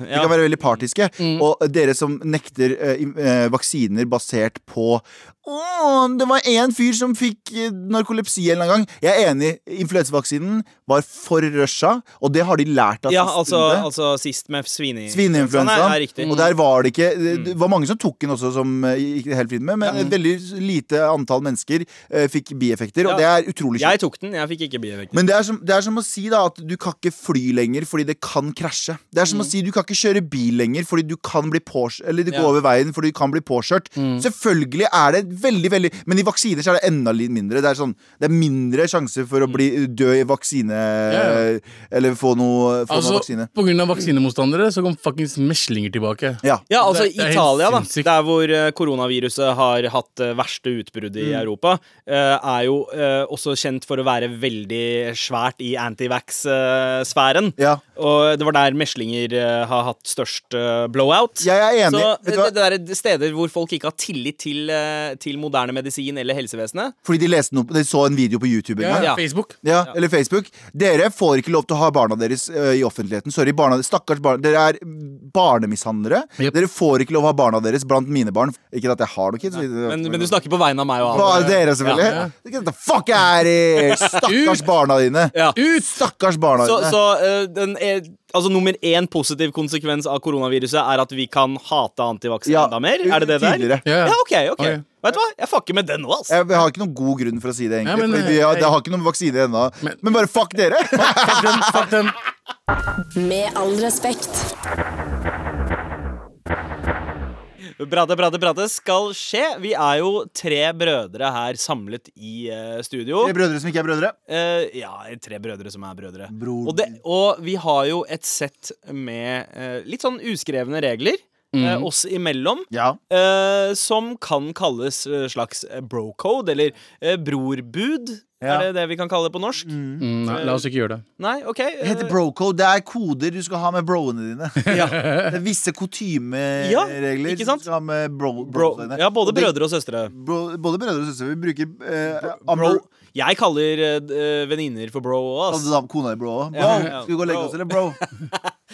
B: vi
C: Ja.
B: kan være veldig partiske. Og dere som nekter eh, im- eh, vaksiner basert på Å, det var én fyr som fikk eh, narkolepsi en eller annen gang. Jeg er enig. Influensavaksinen var for rusha, og det har de lært av
C: Ja,
B: siste
C: altså,
B: runde.
C: altså sist med svine...
B: Svineinfluensaen.
C: Nei, er riktig.
B: Og der var det
C: Mm.
B: ikke Det var mange som tok den også, som eh, gikk helt fint med, men et veldig lite antall mennesker eh, fikk bieffekter, og det
C: Ja.
B: er utrolig kjipt.
C: Jeg tok den, jeg fikk ikke bieffekten.
B: Men det er, som, det er som å si da at du kan ikke fly lenger fordi det kan krasje. Det er som å si du kan ikke kjøre bil lenger fordi du kan bli påkjørt. Eller du
C: Ja.
B: går over veien fordi du kan bli påkjørt. Selvfølgelig er det veldig, veldig Men i vaksiner så er det enda litt mindre. Det er, sånn, det er mindre sjanse for å bli dø i vaksine
D: Ja,
B: Eller få noe, få noe
D: Altså,
B: vaksine.
D: på grunn av vaksinemotstandere så kom fuckings meslinger tilbake.
B: Ja.
C: Ja, altså
D: Det- det er helt
C: Italia, da,
D: sinnssykt.
C: der hvor eh, koronaviruset har hatt eh, verste utbruddet
D: Mm.
C: i Europa, eh, er jo eh, også kjent for å være veldig svært i eh, antivax-sfæren.
B: Ja.
C: Og det var der meslinger eh, har hatt størst eh, blowout.
B: Jeg er enig.
C: Så
B: Vet
C: det,
B: du hva?
C: det er steder hvor folk ikke har tillit til, eh, til moderne medisin eller helsevesenet.
B: Fordi de, leste noe, de så en video på YouTube en gang.
D: Ja,
C: Ja.
D: Facebook.
B: Ja, eller Facebook. Dere får ikke lov til å ha barna deres ø, i offentligheten. Sorry, barna, stakkars barna. Dere er barnemishandlere.
D: Jep.
B: Dere får ikke lov å ha barna deres blant mine barn. Ikke at jeg har noen kids.
C: Men, men du snakker på vegne av meg og
B: Bare dere, selvfølgelig.
D: Ja.
B: Ikke at the fuck er i Stakkars
D: Ut!
B: barna dine.
C: Ja.
D: Ut!
B: Stakkars barna
C: Så,
B: dine.
C: så eh, den er, altså, nummer én positiv konsekvens av koronaviruset er at vi kan hate antivaksin
B: Ja,
C: enda mer? Er det det der?
B: tidligere.
D: Ja.
C: Ja, OK. ok
D: Ok.
C: Vet du hva? Jeg fucker med den nå, altså.
B: Jeg, jeg har ikke noen god grunn for å si det, egentlig.
D: Ja, men-
B: fordi vi
C: eh,
B: har, det har ikke noen vaksine ennå.
D: Men-
B: Men bare fuck dere!
D: Fuck dem, fuck dem.
A: Med all respekt.
C: Brate, brate, brate skal skje. Vi er jo tre brødre her samlet i eh, studio.
B: Tre brødre som ikke er brødre.
C: Eh, ja, tre brødre som er brødre.
B: Bror.
C: Og, det, og vi har jo et sett med eh, litt sånn uskrevne regler eh,
B: Mhm.
C: oss imellom.
B: Ja.
C: eh, som kan kalles eh, slags eh, brocode, eller eh, brorbud.
B: Ja.
C: Er det det vi kan kalle det på norsk?
D: *laughs* Mm, nei, la oss ikke gjøre det.
C: Nei, OK. eh,
B: Det heter brocode. Det er koder du skal ha med broene dine.
C: ja.
B: Det er visse
C: Ja,
B: kutymeregler
C: ikke sant?
B: du skal ha med bro,
C: Bro,
B: brosene.
C: ja, både
B: Og det-
C: brødre og søstre.
B: bro, både brødre og søstre. Vi bruker eh,
C: Bro.
B: amro-
C: Jeg kaller eh, venninner for bro òg,
B: Kaller
C: ass.
B: du da kona di bro også? Bro,
C: Ja, ja.
B: skal vi gå og legge
C: Bro.
B: oss, eller bro?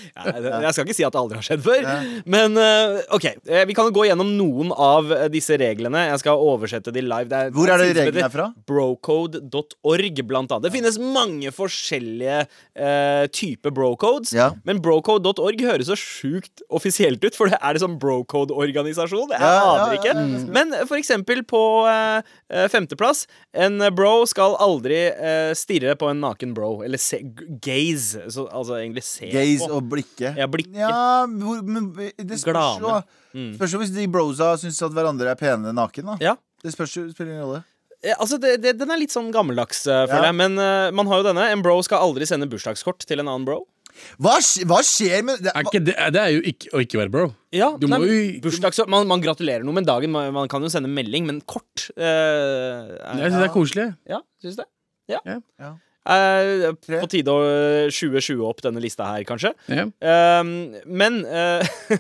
C: Nei, det- Jeg skal ikke si at det aldri har skjedd før. Men eh, OK, eh, vi kan jo gå gjennom noen av eh, disse reglene. Jeg skal oversette de live. Det
B: Hvor er det
C: det
B: reglene er fra?
C: Brocode.org, blant annet. Det finnes mange forskjellige eh, typer brocodes.
B: Ja.
C: Men brocode.org høres så sjukt offisielt ut, for det er det sånn brocode-organisasjon? Jeg
B: Ja, ja,
C: aner
B: ja,
C: ikke.
B: ja, det
C: Men for eksempel på eh, eh, femteplass En bro skal aldri eh, stirre på en naken bro. Eller se, gaze. Så, altså egentlig se
B: Gaze
C: på.
B: og blikke.
C: Ja, blikke.
B: Ja, hvor, men det spørs jo.
C: Glane. Mm.
B: Spørs jo hvis de brosa syns at hverandre er pene naken, da.
C: Ja.
B: Det spørs jo, spiller ingen rolle.
C: eh, altså det, det, Den er litt sånn gammeldags, eh, føler
B: Ja.
C: jeg. Men eh, man har jo denne. En bro skal aldri sende bursdagskort til en annen bro.
B: Hva, sk- hva skjer med det,
D: Er ikke det, det er jo ikke, å ikke være bro.
C: Ja,
D: Du må
C: nei,
D: jo-
C: bursdags, man, man gratulerer noe med dagen. Man, man kan jo sende melding, men kort eh, er,
D: Jeg syns det er koselig.
C: Ja, syns det. Ja.
D: Ja.
B: Ja.
C: Eh,
B: Tre.
C: på tide å 2020 opp denne lista her, kanskje.
D: Ja.
C: Ehm, men eh, *laughs*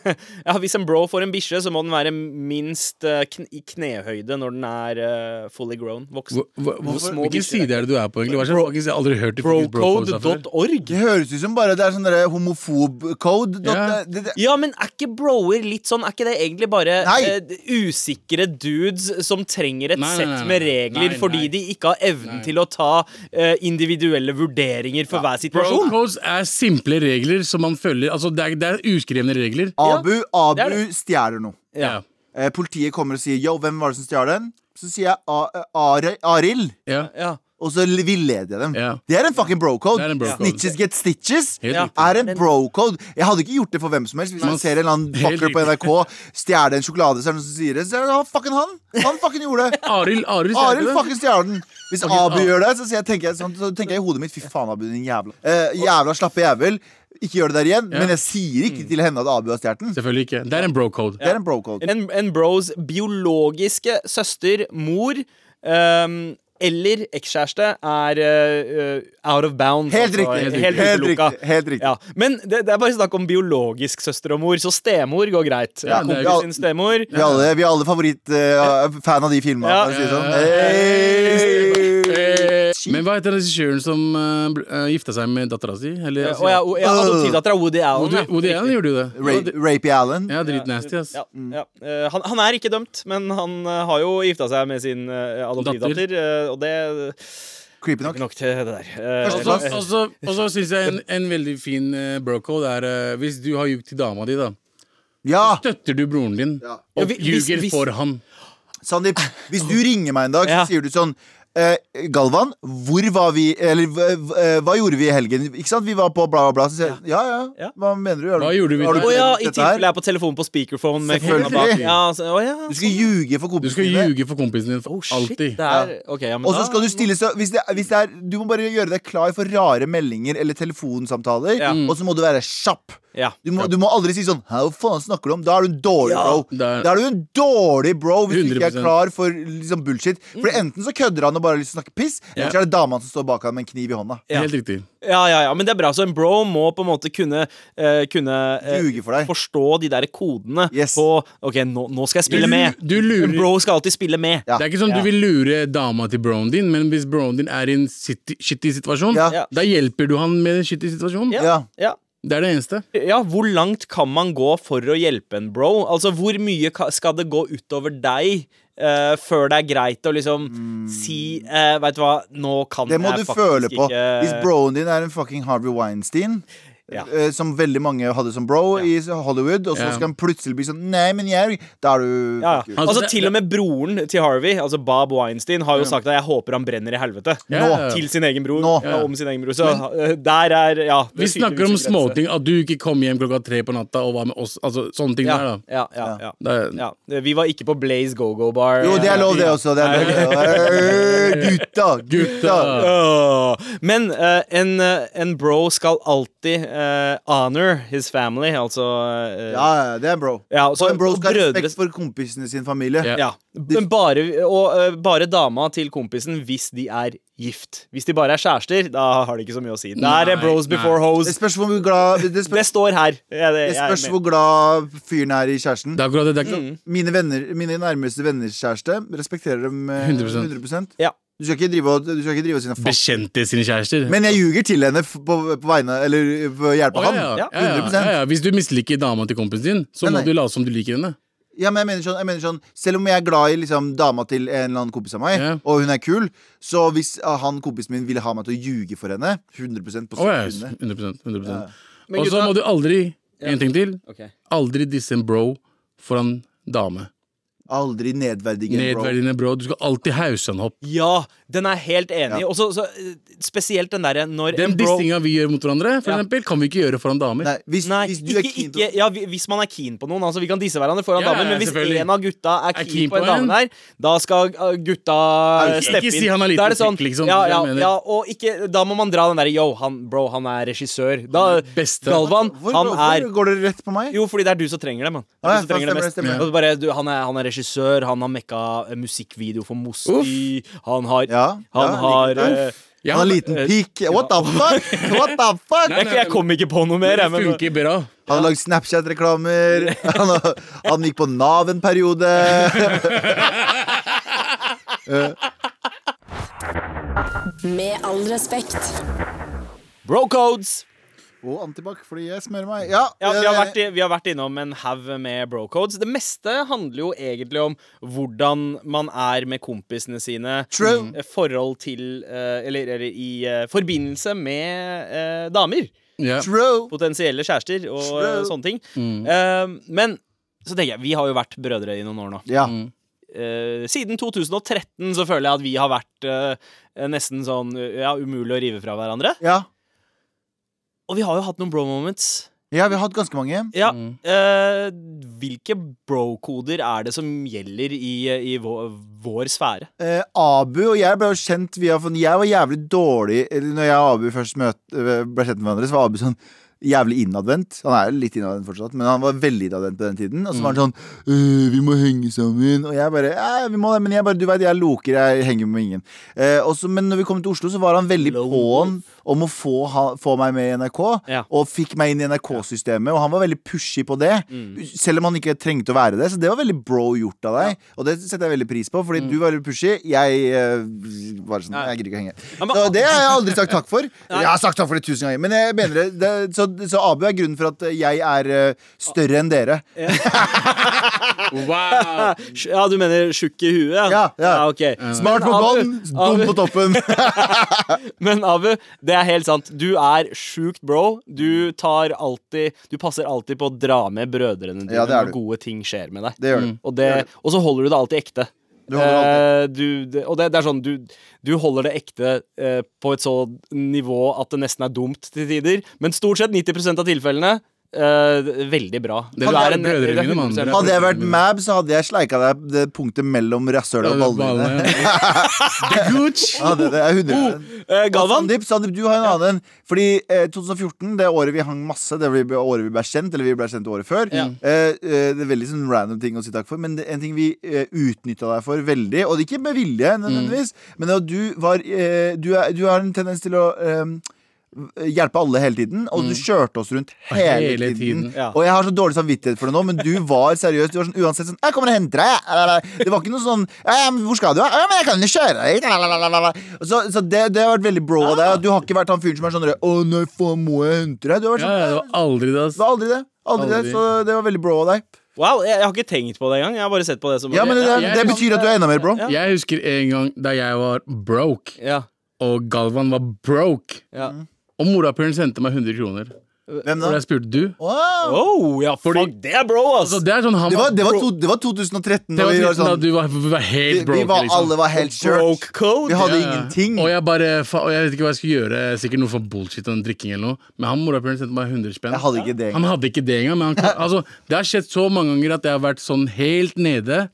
C: ja, hvis en bro får en bikkje, så må den være minst eh, kn i knehøyde når den er eh, fully grown. Voksen.
D: Hvor- hvor- hvor-
C: små bikkjer
D: Hvilken
C: er
D: side er det du er på, egentlig? Hva slags, faktisk, jeg har aldri hørt det, faktisk, brocode sa før.
C: Brocode.org.
B: det høres ut som bare det er sånn derre homofobcode.
D: Ja.
B: Det- det- det-
C: Ja, men er ikke broer litt sånn Er ikke det egentlig bare
B: Nei.
C: eh, usikre dudes som trenger et
D: Nei, nei,
C: sett
D: nei, nei.
C: med regler
D: Nei,
C: fordi
D: nei.
C: de ikke har evnen til å ta eh, individuelle vurderinger for hver situasjon?
D: Brocodes er simple regler som man følger. Altså, det er, det er uskrevne regler.
B: Abu, Abu
C: det er
B: stjeler noe.
D: Ja.
B: Eh, politiet kommer og sier 'yo, hvem var det som stjal den?' Så sier jeg A- eh, Are- Arild,
D: Ja.
C: Ja.
B: og så l- villeder jeg dem.
D: Ja.
B: Det er en fucking brocode.
D: Det er en bro code.
B: Snitches get stitches.
D: Helt
C: Ja.
D: riktig.
B: er en bro-code. Jeg hadde ikke gjort det for hvem som helst. Hvis man ser en eller annen
D: *laughs* Helt
B: fucker på NRK stjele en sjokolade, så er det noen som sier det. Så er det «Ja, fucking han. Han fucking gjorde
D: *laughs*
B: det.
D: Arild Arild sier
B: Arild
D: det.
B: fucking stjeler den. Hvis
D: Fucking
B: Abu
D: Abu.
B: gjør det, så, sier jeg, tenker jeg, sånn, så tenker jeg i hodet mitt Fy faen, Abu, din jævla eh, Jævla slappe jævel. Ikke gjør det der igjen.
D: Ja. Mm.
B: Men jeg sier ikke til henne at Abu har stjålet den.
D: Selvfølgelig ikke. Det er en brocode.
B: Det er en bro-code.
C: En, en bros biologiske søster, mor ehm, eller ekskjæreste er eh, eh, out of bounds.
B: Helt riktig.
C: Helt,
B: Helt riktig.
C: utelukka.
B: Helt riktig.
C: Ja. Men det, det er bare snakk om biologisk søster og mor, så stemor går greit.
D: Ja, det er
C: Kompis
B: jo-
C: sin stemor.
B: Vi er alle, vi er alle favoritt eh, fan av de filmene.
C: Ja.
B: for å si det sånn. Hey.
D: Eh, Men hva heter regissøren som eh, bl- eh, gifta seg med dattera si? Eller,
C: Og jeg, og jeg har adoptivdattera Woody Allen.
D: Woody,
C: ja.
D: Woody Allen gjorde jo det.
B: Ra- Rapey Allen.
D: Ja, dritnasty, ass.
C: Ja, ja. Eh, han, han er ikke dømt, men han eh, har jo gifta seg med sin eh, adoptivdatter, eh, og det
B: Creepy nok.
C: Nok til det der. Eh,
B: Første
D: Og så- Og så- og så syns jeg en, en veldig fin eh, brocode er eh, hvis du har jugd til dama di, da.
B: Ja,
D: Støtter du broren din
B: Ja.
C: Ja,
D: og
C: vi- hvis-
D: ljuger
C: hvis-
D: for han?
B: Sandeep, hvis du ringer meg en dag, så
C: Ja.
B: sier du sånn eh, Galvan, hvor var vi Eller hva- hva- hva gjorde vi i helgen? Ikke sant? Vi var på bla, bla, bla. Så sier jeg ja, ja.
C: Ja.
B: Hva mener du? Har du-
D: Hva gjorde vi
B: har du
D: der?
C: Å ja,
B: glemt
C: i
B: dette her?
C: tilfelle jeg er på telefonen på speakerphone med kona
B: Selvfølgelig.
C: bak. Ja, så, å, ja.
B: Du skal ljuge for
D: Du skal
B: kompisene dine.
D: ljuge for kompisen din for
C: Oh, shit,
D: alltid.
C: det er Ok, ja, men
B: Og så
C: da-
B: skal du stille så hvis det, hvis det er, Du må bare gjøre deg klar for rare meldinger eller telefonsamtaler,
C: Ja.
B: og så må du være kjapp.
C: Ja.
B: Du må, du må aldri si sånn Hæ, hva faen snakker du om? Da er du en dårlig
C: Ja.
B: bro.
D: Det er-
B: Da er du en dårlig bro hvis du ikke er
D: 100%.
B: klar for liksom bullshit. For
C: Mm.
B: enten så kødder han og bare har lyst til å snakke piss, eller så er det dama som står bak han med en kniv i hånda.
C: Ja.
D: Helt riktig.
C: ja, ja, ja, men det er bra. Så en bro må på en måte kunne, eh, kunne eh,
B: Ljuge for deg.
C: forstå de der kodene
B: Yes.
C: på Ok, nå, nå skal jeg spille
D: Du-
C: med.
D: du lurer-
C: En bro skal alltid spille med.
B: Ja.
D: Det er ikke sånn
C: Ja.
D: du vil lure dama til broren din, men hvis broren din er i en shitty, shitty situasjon,
B: Ja.
C: Ja.
D: da hjelper du han med den shitty situasjonen.
B: Ja.
C: ja.
D: Det er det eneste.
C: Ja, hvor langt kan man gå for å hjelpe en bro? Altså, hvor mye ka- skal det gå utover deg eh, før det er greit å liksom si eh, Veit du hva, nå
B: Mm.
C: kan
B: Det må
C: Mm, jeg
B: du
C: faktisk
B: føle på.
C: ikke
B: Hvis broen din er en fucking Harvey Weinstein
C: Ja.
B: eh, Som veldig mange hadde som bro i Hollywood, og så
D: Ja.
B: skal han plutselig bli sånn Nei, men jeg er-" Da er du
C: ja,
B: fuck
C: ja.
B: you.
C: Altså,
D: det-
C: til og med broren til Harvey, altså Bob Weinstein, har jo sagt at 'jeg håper han brenner i helvete'.
D: Ja.
C: Til sin egen bror.
B: Nå.
C: Ja, om sin egen bror. Så eh, der er Ja. det
D: Vi
C: er
D: snakker om
C: tydeligvis en grense.
D: småting. At du ikke kom hjem klokka tre på natta og var med oss. Altså sånne ting
C: Ja,
D: der, da.
C: ja, ja, ja.
D: Det er,
C: ja. Vi var ikke på Blaze Go-Go Bar.
B: Jo, det er lov, det også. Det er lov. Eh, Gutta,
C: *laughs*
B: gutta.
D: Gutta.
C: Åh. Men eh, en, eh, en bro skal alltid eh, honor his family, altså eh,
B: Ja, ja, det er en bro.
C: ja, så-
B: Og en bro
C: og
B: skal ha
C: brødre-
B: respekt for kompisene sin familie.
D: Ja.
C: ja. Men bare, og eh, bare dama til kompisen hvis de er gift. Hvis de bare er kjærester, da har det ikke så mye å si. Da er det
D: Nei,
C: bros
D: nei.
C: before
B: Det
C: hoes.
B: spørs hvor glad Det
C: Det
B: spørs,
C: står her. Ja, det-
B: det
C: *laughs* jeg er
B: spørs
C: med.
B: hvor glad fyren er i kjæresten.
D: Det er akkurat det. det er
C: Mm.
D: ikke,
B: Mine, venner, mine nærmeste venners kjæreste respekterer dem eh,
D: 100%.
B: 100
C: Ja.
B: Du skal ikke drive og, du skal ikke drive og si noe faen.
D: Bekjente sine kjærester.
B: Men jeg ljuger til henne f- på, på vegne Eller på hjelp
D: Å,
B: av
D: ja,
B: ham.
D: ja, ja,
B: 100%.
D: ja, ja. Hvis du misliker dama til kompisen din, så
B: Nei,
D: må
B: nei.
D: du late som du liker henne.
B: Ja, men jeg mener sånn, jeg mener sånn Selv om jeg er glad i liksom, dama til en eller annen kompis av meg,
D: Ja.
B: og hun er kul, så hvis ah, han kompisen min ville ha meg til å ljuge for henne 100 på
D: Å, ja,
B: sekundene
D: 100%, 100%.
C: Men
D: Og så
C: gutta-
D: må du aldri En ting til.
C: Ok.
D: Aldri disse en bro foran dame.
B: Aldri nedverdigende, bro.
D: Nedverdigende, bro. Du skal alltid hause han opp.
C: Ja, den er jeg helt enig i. Og så- så, eh, spesielt den derre når
D: Den
C: en bro-
D: distinga vi gjør mot hverandre, for
C: Ja.
D: eksempel, kan vi ikke gjøre foran damer.
B: Nei, hvis,
C: Nei,
B: hvis du
C: ikke,
B: er keen
C: ikke, ja, vi- hvis man er keen på noen. Altså Vi kan disse hverandre foran
D: Ja, ja,
C: damer, men hvis
D: selvfølgelig.
C: en av gutta er keen, på en dame der, da skal uh, gutta uh,
B: Ikke
C: steppe inn.
D: si han er liten
C: Da det sånn,
D: pikk, liksom,
C: Ja,
D: det
C: ja,
D: jeg mener.
C: ja, og ikke, da må man dra den derre Yo, han, bro, han er regissør. Da,
D: beste.
C: Galvan,
B: Hvor,
C: han
B: hvorfor
C: er
B: går dere rett på meg?
C: jo, fordi det er du som trenger det, mann. Det
B: Ah,
C: er
B: ja,
C: du som trenger det
B: stemmer,
C: mest.
B: stemmer.
C: Og bare, du, han, er, han er regissør, han har mekka eh, musikkvideo for Mosti, han har
B: Ja,
C: Han
B: ja,
C: har
B: liker
C: eh,
B: det. Han har liten
C: eh,
B: pikk. What the fuck? What
C: *laughs*
B: the fuck?
C: jeg, jeg kom ikke på noe mer,
D: det
C: jeg. Men,
D: funker bra.
B: Han har lagd
C: *laughs*
B: Snapchat-reklamer. Han, har- han gikk på Nav en periode.
A: Med all respekt.
C: bro codes!
B: Og antibac, fordi jeg smører meg. Ja,
C: Ja, vi har,
B: jeg-
C: vært, i- vi har vært innom en haug med brocodes. Det meste handler jo egentlig om hvordan man er med kompisene sine.
B: True.
C: eh, Forhold til eh, Eller, eller i eh, forbindelse med eh, damer.
D: Ja.
B: True.
C: Potensielle kjærester og eh,
B: True.
C: sånne ting. Eh, men så tenker jeg, vi har jo vært brødre i noen år nå.
B: Ja.
C: Eh, siden 2013 så føler jeg at vi har vært eh, nesten sånn ja, umulig å rive fra hverandre.
B: ja.
C: Og vi har jo hatt noen bro moments.
B: Ja, vi har hatt ganske mange.
C: Ja. eh, hvilke bro-koder er det som gjelder i, eh, i vår, vår sfære?
B: Eh, Abu og jeg ble jo kjent via for Jeg var jævlig dårlig eller Når jeg og Abu først møt, eh, ble kjent med hverandre, så var Abu sånn jævlig innadvendt. Han er jo litt innadvendt fortsatt, men han var veldig innadvendt på den tiden. Og så
C: Mm.
B: var han sånn «Øh, 'Vi må henge sammen', og jeg bare «Ja, vi må det, men jeg bare, du vet, jeg loker, jeg henger med ingen. Eh, og så- men når vi kom til Oslo, så var han veldig
C: Lone
B: på'n om å få, ha, få meg med i NRK,
C: Ja.
B: og fikk meg inn i NRK-systemet, og han var veldig pushy på det,
C: Mm.
B: selv om han ikke trengte å være det. Så det var veldig bro gjort av deg, og det setter jeg veldig pris på, fordi du var veldig pushy. Jeg eh, var sånn, jeg gidder ikke å henge.
C: Mm. Ja, men-
B: Så det har jeg aldri sagt takk for. Jeg har sagt takk for det tusen ganger, men jeg mener det. det så, så Abu er grunnen for at jeg er eh, større enn dere.
D: Wow!
C: Ja, du mener tjukk i huet?
B: Ja, ja. Eh.
C: ok.
B: Smart
C: Men
B: på
C: Abu-
B: bånn, dum på
C: Abu-
B: toppen.
C: *laughs* Men Abu, det er helt sant. Du er sjukt bro. Du tar alltid Du passer alltid på å dra med brødrene dine
B: Ja, det er
C: når
B: du.
C: gode ting skjer med deg.
B: Det gjør du.
C: Og, det, og så holder du det alltid ekte.
B: Du holder det
C: Eh, du, det, og det, det er sånn, du, du holder det ekte eh, på et så nivå at det nesten er dumt til tider. Men stort sett 90 av tilfellene eh, veldig bra.
D: Dere
C: Du
D: er
C: en-
D: brødrene
C: du er
D: mine, mann.
C: 100% *laughs*
D: Dere
B: Hadde jeg vært mab, så hadde jeg sleika deg det punktet mellom rasshølet og ballene. dine. *laughs*
D: The gooch!
B: Ja, det, det er 100
D: Oh,
C: Eh,
B: Og
C: Galvan?
B: Sandeep, Sandeep, du har en annen en. Fordi eh, 2014, det året vi hang masse, det ble- året vi ble kjent, eller vi ble kjent året før eh, eh, Det er veldig sånn random ting å si takk for, men det, en ting vi eh, utnytta deg for veldig, og det ikke med
D: Mm.
B: vilje nødvendigvis, men det at du var eh, du, er, du har en tendens til å eh, hjelpe alle hele tiden, og
C: Mm.
B: du kjørte oss rundt hele,
D: Hele
B: tiden.
D: tiden,
C: ja.
B: Og jeg har så dårlig samvittighet for det nå, men du var seriøs. Du var sånn uansett sånn 'Jeg kommer og henter deg', jeg. Eller, eller. Det var ikke noe sånn «Ja, ja, men 'Hvor skal du?' «Ja, ja, men 'Jeg kan jo kjøre deg'. hit», eller, eller, eller, eller. Så, så det, det har vært veldig bro av deg. Du har ikke vært han fyren som er sånn 'Å nei, faen, må jeg hente deg?' Du har vært
D: Ja,
B: sånn,
D: ja, det var aldri det, ass.
B: det var aldri det. Aldri,
D: Aldri.
B: det. Så det var veldig bro av deg.
C: Wow, jeg, jeg har ikke tenkt på det engang. Jeg har bare sett på det som
B: Ja, men det, det,
D: jeg- sånn
B: det betyr at du er enda mer bro.
C: Ja.
D: Jeg husker en gang da jeg var broke,
C: ja,
D: og Galvan var broke.
C: ja.
B: Mm.
D: Og morapulen sendte meg 100 kroner.
B: Hvem
D: Og
B: da?
D: jeg spurte du.
B: Wow.
C: Oh, ja,
D: Fordi-
C: fuck det, bro, ass!
D: Så det er sånn han
B: Altså, Det, var, det, var to, det var 2013.
D: det
B: da
D: var
B: vi var
D: tiden da
B: sånn,
D: du var, vi var
B: vi,
D: helt broke.
B: vi var,
D: liksom.
B: alle var helt shirt.
C: Broke code.
B: Vi hadde
D: Ja, ja.
B: ingenting.
D: Og jeg bare, fa og jeg vet ikke hva jeg skulle gjøre, sikkert noe for bullshit og drikking eller noe. Men han morapulen sendte meg 100 spenn.
B: Jeg hadde ikke det.
D: Han hadde ikke det engang. Men han, altså, det har skjedd så mange ganger at jeg har vært sånn helt nede.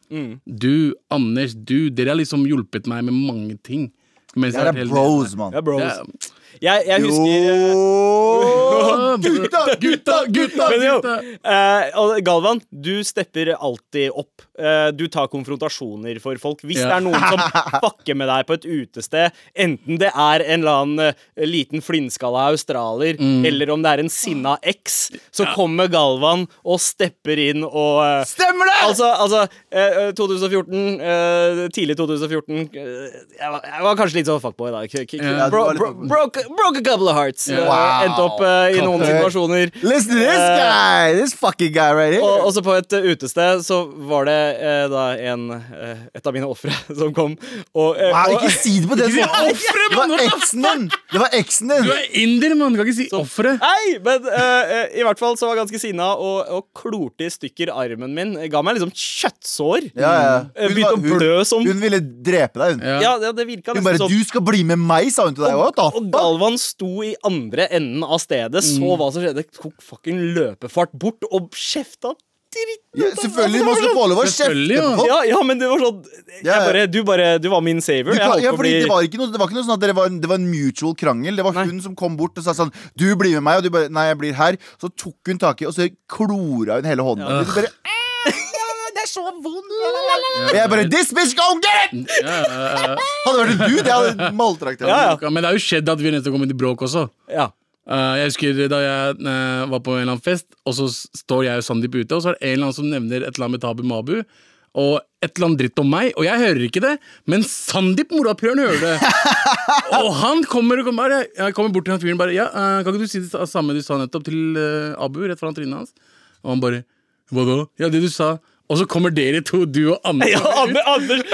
D: Du, Anders, du, dere har liksom hjulpet meg med mange ting. Mens
B: Det
D: jeg har
B: er
D: vært helt
B: bros, mann.
C: Ja, bros.
D: nede. Det er-
C: Jeg, jeg husker eh,
D: Åh, Gutta, gutta, gutta!
C: Men jo,
D: gutta.
C: eh, og Galvan, du stepper alltid opp. Eh, du tar konfrontasjoner for folk. Hvis det
D: Ja. *laughs*
C: er noen som fucker med deg på et utested, enten det er en eller annen eh, liten flintskalla australier,
D: Mm.
C: eller om det er en sinna eks, så kommer Galvan og stepper inn og eh,
B: Stemmer det!
C: *laughs* Altså, altså eh, eh, 2014, eh, tidlig 2014 eh, jeg, var, jeg var kanskje litt sånn fuckboy da. K- k-
D: Ja,
B: du
C: Bro,
B: var litt
C: bro,
B: fuckboy.
C: broke, broke a couple of hearts. eh,
B: Wow.
C: Endte opp eh, i noen situasjoner. Eh,
B: Listen to
D: Eh.
B: this guy! This fucking guy right here.
C: Og også på et eh, utested så var det eh, da en eh, Et av mine ofre *laughs* som kom og, eh,
B: Wow,
C: og
B: ikke si det på den
D: Ikke
B: måten!
D: offre,
B: Det var
D: mann, what the
B: eksen din! Det var eksen din!
D: Du er inder, mann! Kan ikke si ofre.
C: Nei, men eh, eh, i hvert fall så var jeg ganske sinna og, og klorte i stykker armen min. Ga meg liksom kjøttsår.
B: Ja, ja.
C: Eh,
B: Hun
C: Begynte
B: var-
C: å
B: hun-
C: blø som
B: Hun ville drepe deg, hun.
D: Ja.
C: Ja, det, det virka
B: Hun bare
C: nesten
B: 'du
C: sånn.
B: skal bli med meg', sa hun til deg òg.
C: Og Galvan sto i andre enden av stedet,
B: Mm.
C: så hva som skjedde, tok fucking løpefart bort og kjefta
B: Ja,
C: dritten ut av- altså.
B: selvfølgelig må du få lov å
D: Selvfølgelig,
B: kjefte
D: ja.
B: på folk.
C: Ja, ja, men det var sånn
B: Ja,
C: jeg
B: ja.
C: bare, du, bare, du var min savior.
B: Du
C: Jeg
B: kan,
C: holdt
B: ja,
C: på å
B: fordi
C: bli-
B: det, var ikke noe, det var ikke noe sånn at dere var, det var en mutual krangel. Det var hun som kom bort og sa sånn 'Du blir med meg', og du bare 'Nei, jeg blir her'. Så tok hun tak i, og så klora hun hele hånden. Og du bare, det er så vondt Og jeg bare 'This bitch gonna get it!'
D: Ja, ja, ja.
B: Hadde det vært en dude, jeg hadde maltrakt
C: Ja, ja.
D: Men det har jo skjedd at vi er nødt til å komme i bråk også.
C: ja.
D: Eh, jeg husker da jeg eh, var på en eller annen fest, og så s- står jeg og Sandeep ute, og så er det en eller annen som nevner et eller annet med Tabu Mabu. Og et eller annet dritt om meg, og jeg hører ikke det, men Sandeep morapuleren hører det.
B: *laughs*
D: og han kommer, og kommer, bare- jeg kommer bort til han fyren bare ja, eh, 'Kan ikke du si det s- samme du sa nettopp til eh, Abu?' rett foran trynet hans. Og han bare 'Hva da?' 'Ja, det du sa.' Og så kommer dere to, du og Anders.
C: ja Ander, Anders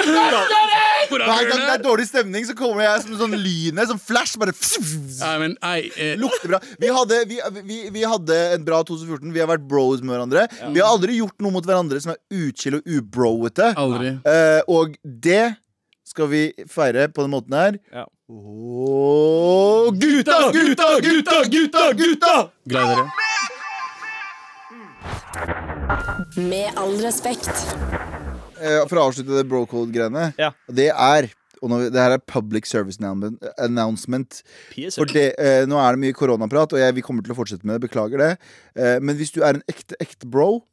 B: Hver gang det
D: morapuleren
B: er
D: her.
B: dårlig stemning, så kommer jeg som en sånn lyne, som flash, bare
D: Nei, men, nei, eh,
B: Lukter bra. Vi hadde, vi, vi, vi hadde en bra 2014. Vi har vært bros med hverandre. Vi har aldri gjort noe mot hverandre som er uchill og ubroete.
D: aldri.
B: Eh, og det skal vi feire på den måten her.
C: Ja.
B: Åh, gutta, gutta, gutta, gutta, gutta!
D: Glad i dere.
A: Med all respekt.
B: Eh, for å avslutte det brocode-greiene.
C: Ja.
B: Det er og nå, det her er public service announcement. announcement
C: PSA.
B: for det, eh, nå er det mye koronaprat, og jeg, vi kommer til å fortsette med det. Beklager det. Eh, men hvis du er en ekte, ekte bro,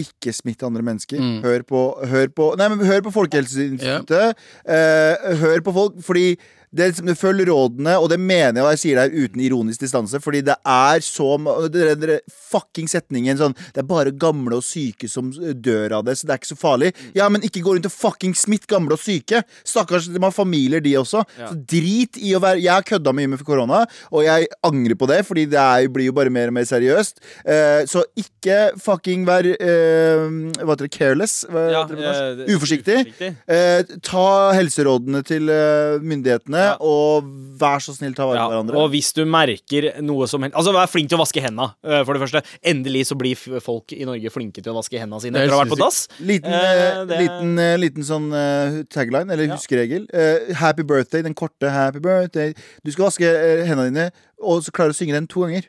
B: ikke smitt andre mennesker.
C: Mm.
B: Hør, på, hør på Nei, men hør på Folkehelseinstituttet. Eh, hør på folk, fordi det er liksom, det Følg rådene, og det mener jeg, og jeg sier det her uten ironisk distanse, fordi det er så ma- det er- det er Fucking setningen sånn Det er bare gamle og syke som eh, dør av det, så det er ikke så farlig. Ja, men ikke gå rundt og fucking smitt gamle og syke! Stakkars, de har familier, de også. altså. Så drit i å være Jeg har kødda mye med korona, og jeg angrer på det, fordi det er, blir jo bare mer og mer seriøst. Eh, så ikke fucking vær eh, Hva heter det? Careless? Hva
C: Ja,
B: heter det på norsk?
C: eh, det-
B: uforsiktig.
C: uforsiktig.
B: Eh, ta helserådene til eh, myndighetene,
C: Ja.
B: og vær så snill, ta vare på
C: Ja,
B: hverandre.
C: og hvis du merker noe som helst Altså, vær flink til å vaske henda, eh, for det første. Endelig så blir f- folk i Norge flinke til å vaske henda sine
D: Det er
C: etter å ha vært på
D: sinnssykt.
C: dass.
B: Liten,
C: Eh,
B: eh,
C: det-
B: liten, eh, liten sånn eh, tagline, eller huskeregel. Eh, happy birthday, den korte happy birthday. Du skal vaske eh, hendene dine, og så klarer du å synge den to ganger.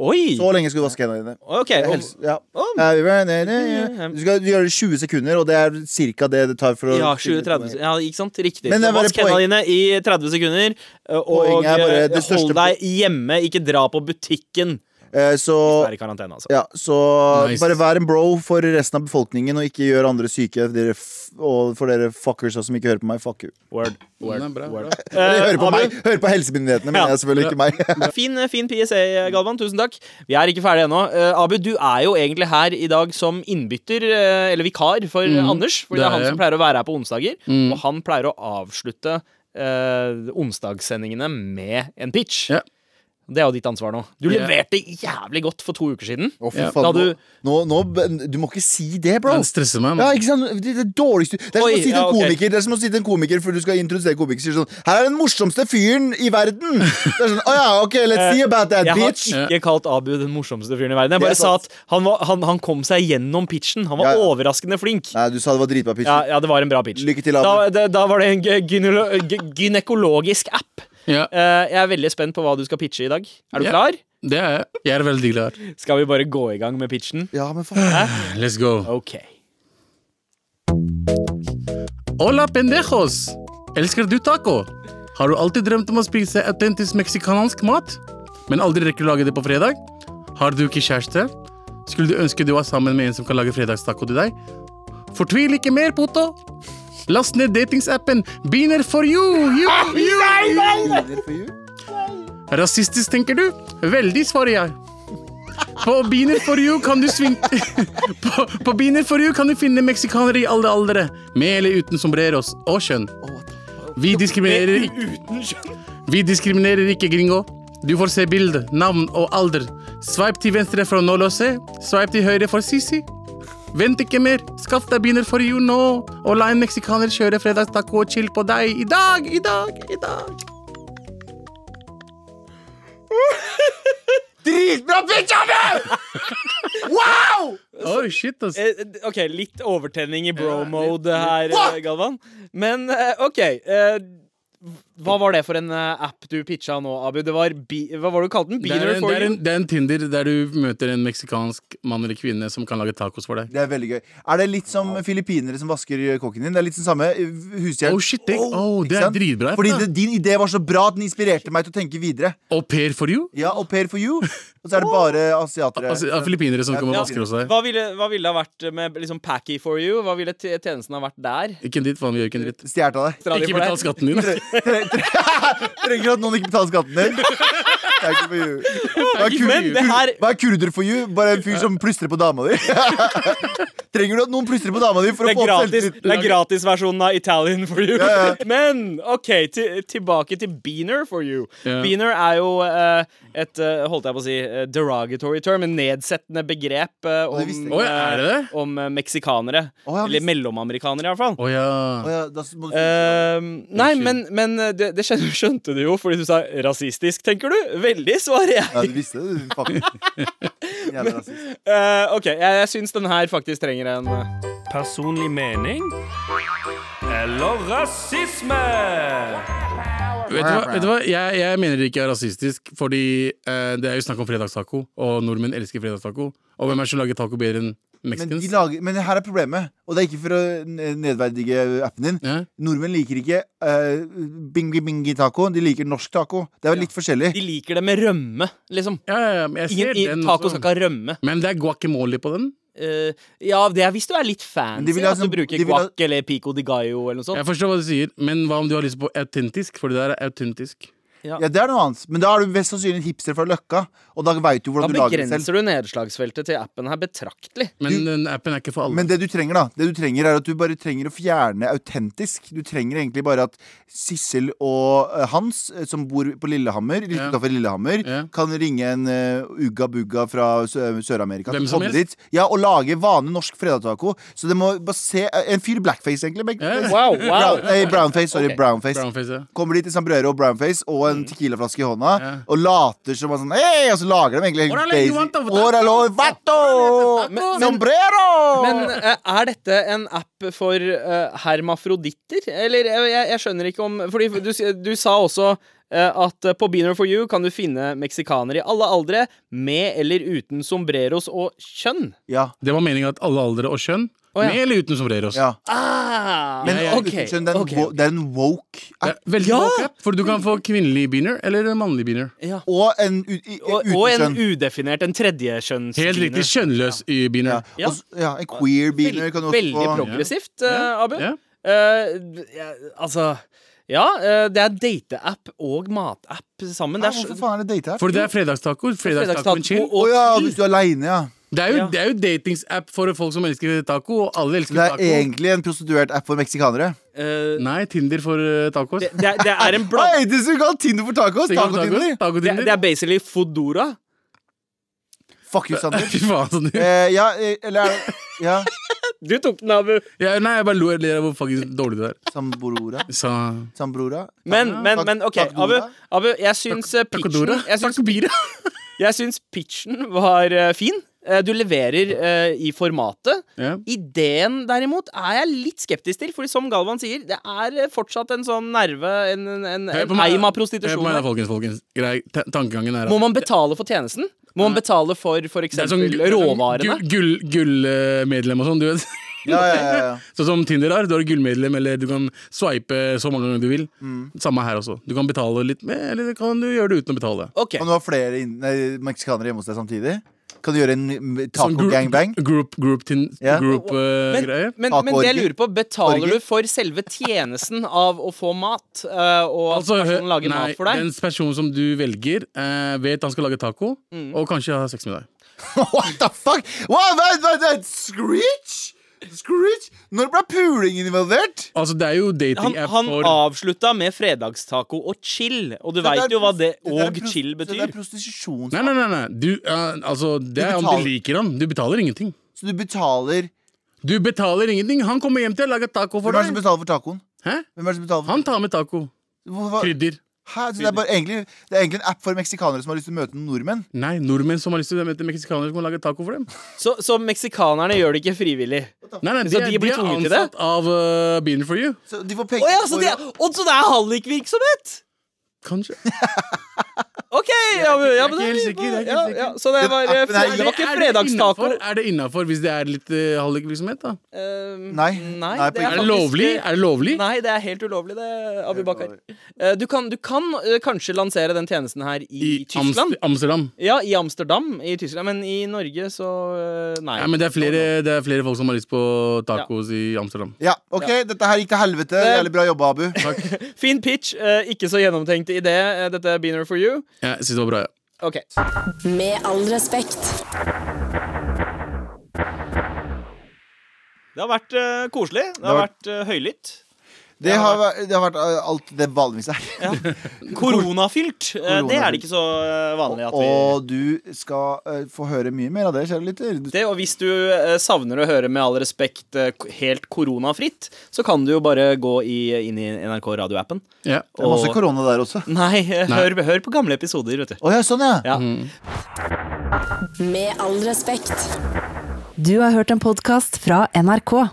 C: Oi!
B: Så lenge skal du vaske hendene dine.
C: Ok,
B: Det er
C: og,
B: helse- ja.
C: Om-
B: Happy birthday. Du skal gjøre det i 20 sekunder, og det er cirka det det tar for å
C: ja,
B: synge det to
C: 20-30
B: ganger.
C: Ja, ikke sant? Riktig.
B: Men det
C: Så
B: er bare
C: Vask hendene
B: poeng-
C: dine i 30 sekunder, eh, og
B: Poenget er bare det
C: eh,
B: største-
C: hold deg hjemme. Ikke dra på butikken.
B: Eh, så
C: Vær i karantene, altså.
B: ja, så
D: Nice.
B: bare vær en bro for resten av befolkningen, og ikke gjør andre syke. Dere f og for dere fuckers som ikke hører på meg, fuck you.
C: Word.
D: Den er bra, bra.
B: Eller
C: Eh,
B: hører på
C: Abu?
B: meg, hører på helsemyndighetene,
C: Ja.
B: mener jeg selvfølgelig
C: *laughs*
B: ikke meg.
C: Fin, eh, fin PSA, Galvan. Tusen takk. Vi er ikke ferdige ennå. Eh, Abu, du er jo egentlig her i dag som innbytter, eh, eller vikar, for
B: Mm.
C: Anders. For det er
D: det er
C: han
D: jeg.
C: som pleier å være her på onsdager. Og han pleier å avslutte eh, onsdagssendingene med en pitch.
D: Ja.
C: Det er jo ditt ansvar nå. Du
D: Ja.
C: leverte jævlig godt for to uker siden.
B: Å, fy
D: Ja.
B: faen,
C: Da du-
B: nå, nå, nå, du må ikke si det, bro.
D: Den stresser
B: Ja,
D: meg. mann.
B: ikke sant? Det, det dårligste Det er som
C: Oi,
B: å si til
C: ja,
B: en
C: ok.
B: komiker Det er som å si til en komiker før du skal introdusere komiker, sier sånn Her er den morsomste fyren i
C: *laughs*
B: verden! Det er sånn, Å ja, ok, let's see about that,
C: Jeg har
B: bitch!
C: ikke kalt Abu den morsomste fyren i verden. Jeg
B: Det er
C: bare sa
B: sant.
C: at han, var, han, han kom seg gjennom pitchen. Han var
B: Ja, ja.
C: overraskende flink.
B: Nei, du sa det var dritbra pitch.
C: Ja, ja, det var en bra pitch.
B: Lykke til, Abu.
C: Da, da, da var det en gy- gynelo- gy- gynekologisk app.
D: Ja.
C: Eh, jeg er veldig spent på hva du skal pitche i dag. Er du
D: Ja.
C: klar?
D: Det er jeg. Jeg er veldig glad.
C: Skal vi bare gå i gang med pitchen?
B: Ja, men faen.
D: Let's go.
C: Ok.
D: Hola, pendejos! Elsker du taco? Har du alltid drømt om å spise autentisk meksikansk mat, men aldri rekker å lage det på fredag? Har du ikke kjæreste? Skulle du ønske du var sammen med en som kan lage fredagstaco til deg? Fortvil ikke mer, puto! Last ned datingsappen Beaner for you! you, you. Rasistisk, tenker du? Veldig, svarer jeg. På Beaner for you kan du svin... *laughs* på, på Beaner for you kan du finne meksikanere i alle aldre, med eller uten sombreros og kjønn. Vi diskriminerer ikke
C: Uten skjønn?
D: Vi diskriminerer ikke, gringo. Du får se bilde, navn og alder. Sveip til venstre for nåløse, sveip til høyre for Sisi. Vent ikke mer, skaff deg binder for you nå, og la en meksikaner kjøre fredagstaco og chill på deg i dag, i dag, i dag.
B: *laughs* Dritbra, Benjamin! *laughs* Wow!
D: Oh, shit, ass.
C: Eh, d- OK, litt overtenning i bro-mode her, eh, Galvan. Men eh, OK. eh, Hva var det for en eh, app du pitcha nå, Abu? Det var bi Hva var det du kalte den?
D: Det er,
C: Beaner
D: en,
C: for
D: det, er en,
C: you?
D: det er en Tinder der du møter en meksikansk mann eller kvinne som kan lage tacos for deg.
B: Det er veldig gøy. Er det litt som filippinere som vasker kokken din? Det er litt den samme eh, hushjelp.
D: Oh, shit, det- oh, det
B: Ikke
D: er
B: sant?
D: dritbra, ja.
B: Fordi det, din idé var så bra at den inspirerte meg til å tenke videre.
D: Au pair for you?
B: Ja, au pair for you. Og så er det bare asiatere.
D: Altså, ja, Filippinere som
B: Ja,
D: kommer og
B: ja.
D: vasker hos deg.
C: Hva ville, hva ville det ha vært med liksom Packy for you? Hva ville t- tjenesten ha vært der?
D: Ikke en dritt, faen, vi gjør ikke en dritt.
B: Stjålet av deg.
C: Drar de
D: Ikke
C: for
D: betal
C: deg?
D: skatten din.
B: Trenger at noen ikke betaler skatten din. Thank you for you. Hva er, kur
C: Men det her
B: hva er kurder for you? Bare en fyr som plystrer på dama di. *laughs* Trenger du at noen plystrer på dama di for å
C: det er
B: få opp
C: gratis,
B: selvtillit?
C: det er gratisversjonen av Italian for you. Men OK, til, tilbake til Beaner for you.
D: Ja.
C: Beaner er jo eh, et eh, holdt jeg på å si eh, derogatory term, en nedsettende begrep eh,
B: det visste
C: om,
B: jeg
D: ikke. Oi, er det
C: eh,
D: det?
C: om eh, meksikanere.
B: Å, ja,
C: eller
B: visst.
C: mellomamerikanere, i hvert fall.
D: Å ja.
B: Å ja, da må du...
C: Eh, nei,
D: Unnskyld.
C: men, men eh, det, det skjønte, skjønte du jo fordi du sa rasistisk, tenker du? Veldig, svarer jeg.
B: Ja, du visste det, du. *laughs* Faen. Jævla rasist.
C: Eh, OK, jeg, jeg syns den her faktisk trenger en eh,
F: Personlig mening eller rasisme?
D: Vet du hva? Vet du hva? Jeg, jeg mener det ikke er rasistisk, fordi eh, det er jo snakk om fredagstaco, og nordmenn elsker fredagstaco. Og hvem er det som lager taco bedre enn
B: Men, de
D: mexicans?
B: lager, men her er problemet, og det er ikke for å n- nedverdige appen din.
D: Ja.
B: Nordmenn liker ikke eh, bingi-bingi-taco. De liker norsk taco. Det er vel litt forskjellig.
C: De liker det med rømme, liksom.
D: Ja, ja, ja, men jeg ser
C: Ingen, i,
D: den
C: taco
D: også.
C: skal ikke ha rømme.
D: Men det er guacamole på den.
C: Eh, ja, det er hvis du er litt
B: Men
C: fancy.
B: de vil ha
C: altså,
B: sånn-
C: bruker
B: de vil ha-
C: guac eller pico de gallo eller noe sånt.
D: Jeg forstår hva du sier, men hva om du har lyst på autentisk? For det der er autentisk.
B: Ja, det er noe annet. Men da er du mest sannsynlig en hipster fra Løkka, og da veit du
C: Da
B: hvordan du lager det selv.
C: begrenser du nedslagsfeltet til appen her betraktelig.
D: Men den appen er ikke for alle.
B: Men det du trenger, da Det du trenger er at du bare trenger å fjerne autentisk. Du trenger egentlig bare at Sissel og eh, Hans, eh, som bor på Lillehammer, litt
D: Ja.
B: utenfor Lillehammer,
D: Ja.
B: kan ringe en eh, Ugga Bugga fra Sø- eh, Sør-Amerika
D: Hvem
B: til å komme
D: som helst?
B: dit. Ja, og lage vanlig norsk fredagstaco. Så det må bare se eh, En fyr i blackface, egentlig. men-
D: Ja.
C: Wow, wow.
B: Brown, nei, brownface. Sorry,
C: Ok.
B: brownface.
D: Brownface, ja.
B: Kommer dit i Sambrero og brownface og en tequilaflaske i hånda
D: Mm. Ja.
B: og later som han sånn Hei! Og så lager de egentlig
D: Orale, you want a-
B: Orale, vato! Sombrero!
C: Men eh, er dette en app for eh, hermafroditter? Eller eh, jeg, jeg skjønner ikke om Fordi du, s- du sa også eh, at eh, på Beaner for you kan du finne meksikanere i alle aldre, med eller uten sombreros og kjønn.
B: Ja.
D: Det var meningen at alle aldre og kjønn,
C: ja.
D: med eller uten sombreros.
B: ja.
C: Ah,
B: Men
D: ja,
B: uten skjønn, det, er en wo- det er en woke
D: Det
B: app.
D: er Veldig
C: Ja!
D: woke app, for du kan få kvinnelig beaner eller mannlig beaner.
C: ja.
B: Og en u- i-
C: og,
B: uten
C: og en
B: skjønn.
C: udefinert, en tredjekjønns
D: Helt riktig. Kjønnløs i
B: Ja.
D: beaner.
C: Ja.
B: Og s- ja, en queer beaner kan du også
C: Veldig
B: få.
C: progressivt,
D: Ja.
C: eh, Abu.
D: Ja.
C: Eh, d- ja, altså Ja, eh, det er dateapp og matapp sammen.
B: Nei,
C: Det er
B: hvorfor
C: så-
B: faen er det date her?
D: For det er fredagstaco. Fredagstacoen
C: fredagstaco
D: chill.
B: Å
C: og
B: ja,
C: chill.
B: hvis du er aleine, ja.
D: Det er jo,
C: Ja.
D: det er jo datingsapp for folk som elsker taco, og alle elsker
B: Det er
D: taco.
B: egentlig en prostituert app for meksikanere.
C: eh,
D: Nei, Tinder for eh, tacos.
C: det, det, er- det er en bland...
B: Hei, det skal ha Tinder for tacos!
D: Tinder for
B: Taco-Tinder!
D: tacos, Taco
C: Det,
D: Tinder.
C: det er basically Foodora.
B: Fuck you,
D: *laughs*
B: Sander.
D: *laughs* Fy faen, sånn.
B: *laughs* Eh, ja, eh, eller er det Ja,
C: Du tok den, Abu.
D: Ja, nei, jeg bare lo jeg ler av hvor faktisk dårlig det er.
B: samborora.
D: Så
B: Sambrora.
C: Men, men,
B: tak-
C: men OK, Abu,
B: takdora.
C: Abu jeg syns eh, pitchen
D: Takodora.
C: jeg syns,
D: Takobira.
C: jeg syns pitchen var eh, fin. Eh, Du leverer eh, i formatet.
D: Ja.
C: Ideen, derimot, er jeg litt skeptisk til. Fordi som Galvan sier, det er eh, fortsatt en sånn nerve, en, en, en,
D: Hør på
C: en
D: meg.
C: eim av
D: Hør
C: prostitusjon.
D: på meg da,
C: her.
D: folkens, folkens. Grei, ta- tankegangen er at
C: Må man betale for tjenesten? Må man betale for f.eks.
D: det er sånn
C: eksempel råvarene?
D: Gullmedlem gull, gull, eh, medlem og sånn, du vet.
B: Ja, ja, ja, ja.
D: *laughs* Sånn som Tinder har. Du har gullmedlem, eller du kan swipe så mange ganger du vil.
B: Mm.
D: Samme her også. Du kan betale litt med, eller kan du gjøre det uten å betale.
C: Ok,
B: Kan du ha flere inn- nei, meksikanere hjemme hos deg samtidig? Kan du gjøre en mm,
D: Sånn
B: *laughs*
D: gru-
B: taco-gangbang?
D: Group, group, tin-
B: Ja.
D: group eh,
C: men,
D: greie.
C: men, men det jeg
B: Akeorgi.
C: lurer på, betaler
B: Orgi.
C: du for selve tjenesten av å få mat? eh, og at
D: Altså,
C: personen
D: hø-
C: lager
D: nei,
C: mat for deg?
D: den personen som du velger, eh, vet han skal lage taco,
C: Mm.
D: og kanskje ha sex med deg.
B: What the fuck? Wow, vent, vent, vent. Screech? Scrooge? Når ble puling involvert?
D: Altså, det er jo
C: Han,
D: datingapp
C: han
D: for
C: avslutta med fredagstaco og chill, og du veit jo hva det og chill
B: Det er
C: betyr.
B: prostitusjon.
D: Nei, nei, nei. nei. Du, eh, altså, det er om
B: betaler.
D: du liker han. Du betaler ingenting.
B: Så du betaler
D: Du betaler ingenting. Han kommer hjem til å lage taco
B: Hvem
D: for
B: er det som
D: deg.
B: betaler for tacoen?
D: Hæ?
B: Hvem er det som betaler for
D: Han tar med taco.
B: Hva- hva-
D: Krydder.
B: Hæ? Så det, er bare, egentlig, det er egentlig en app for meksikanere som har lyst til å møte noen nordmenn.
D: Nei, nordmenn som har lyst til å møte meksikanere, som kan lage taco for dem.
C: Så, så meksikanerne gjør det ikke frivillig.
D: Nei, nei,
C: Så
D: er-
C: de blir
D: er
C: tvunget til det?
D: ansatt av uh, Bean for you.
B: Så de får penger
C: Å ja, så det er, og så det er hallikvirksomhet!
D: Kanskje.
C: OK! Ja, men, ja,
D: jeg er
C: men det
D: ikke helt
C: er- liksom-
D: sikker, jeg er ikke
C: ja,
D: helt
C: ja, så det
B: Den
C: var,
B: appen er-
C: det var ikke
D: Er det
C: fredagstaco.
D: innenfor- Er det innafor hvis det er litt uh, hallikvirksomhet, da?
C: Eh,
B: Nei.
C: nei,
B: Nei, på ingen
C: det er,
D: Er det
C: faktisk-
D: lovlig? Er det lovlig?
C: Nei, det er helt ulovlig, det, Abu Bakar. Eh, Du kan, du kan eh, kanskje lansere den tjenesten her i,
D: I
C: Tyskland.
D: Amst- Amsterdam.
C: Ja, i Amsterdam i Tyskland, men i Norge så eh, Nei.
D: Ja, men det er, flere, det er flere folk som har lyst på tacos i Amsterdam.
B: Ja, ok, dette her gikk til helvete. Jævlig bra jobba, Abu.
C: Fin pitch, eh, ikke så gjennomtenkt idé, eh, dette Beaner for you.
D: Jeg synes det var bra, ja.
C: Ok.
A: Med all respekt.
C: Det har vært eh, koselig. Det
B: har
C: har vært eh, høylytt.
B: Det har, vært- det har vært eh, alt det vanligvis er.
C: Koronafylt. Eh, Det er
B: Koronafylt.
C: det ikke så eh, vanlig at vi
B: Og du skal eh, få høre mye mer av det, kjære lytter. Du-
C: det, og hvis du eh, savner å høre med all respekt eh, k- helt koronafritt, så kan du jo bare gå i, inn i NRK radioappen.
D: ja.
B: Det er masse
C: Og-
B: korona der også.
C: Nei, eh, Hør, hør på gamle episoder, vet du.
B: Å ja, sånn, ja.
C: Ja.
A: Med all respekt.
G: Du har hørt en podkast fra NRK.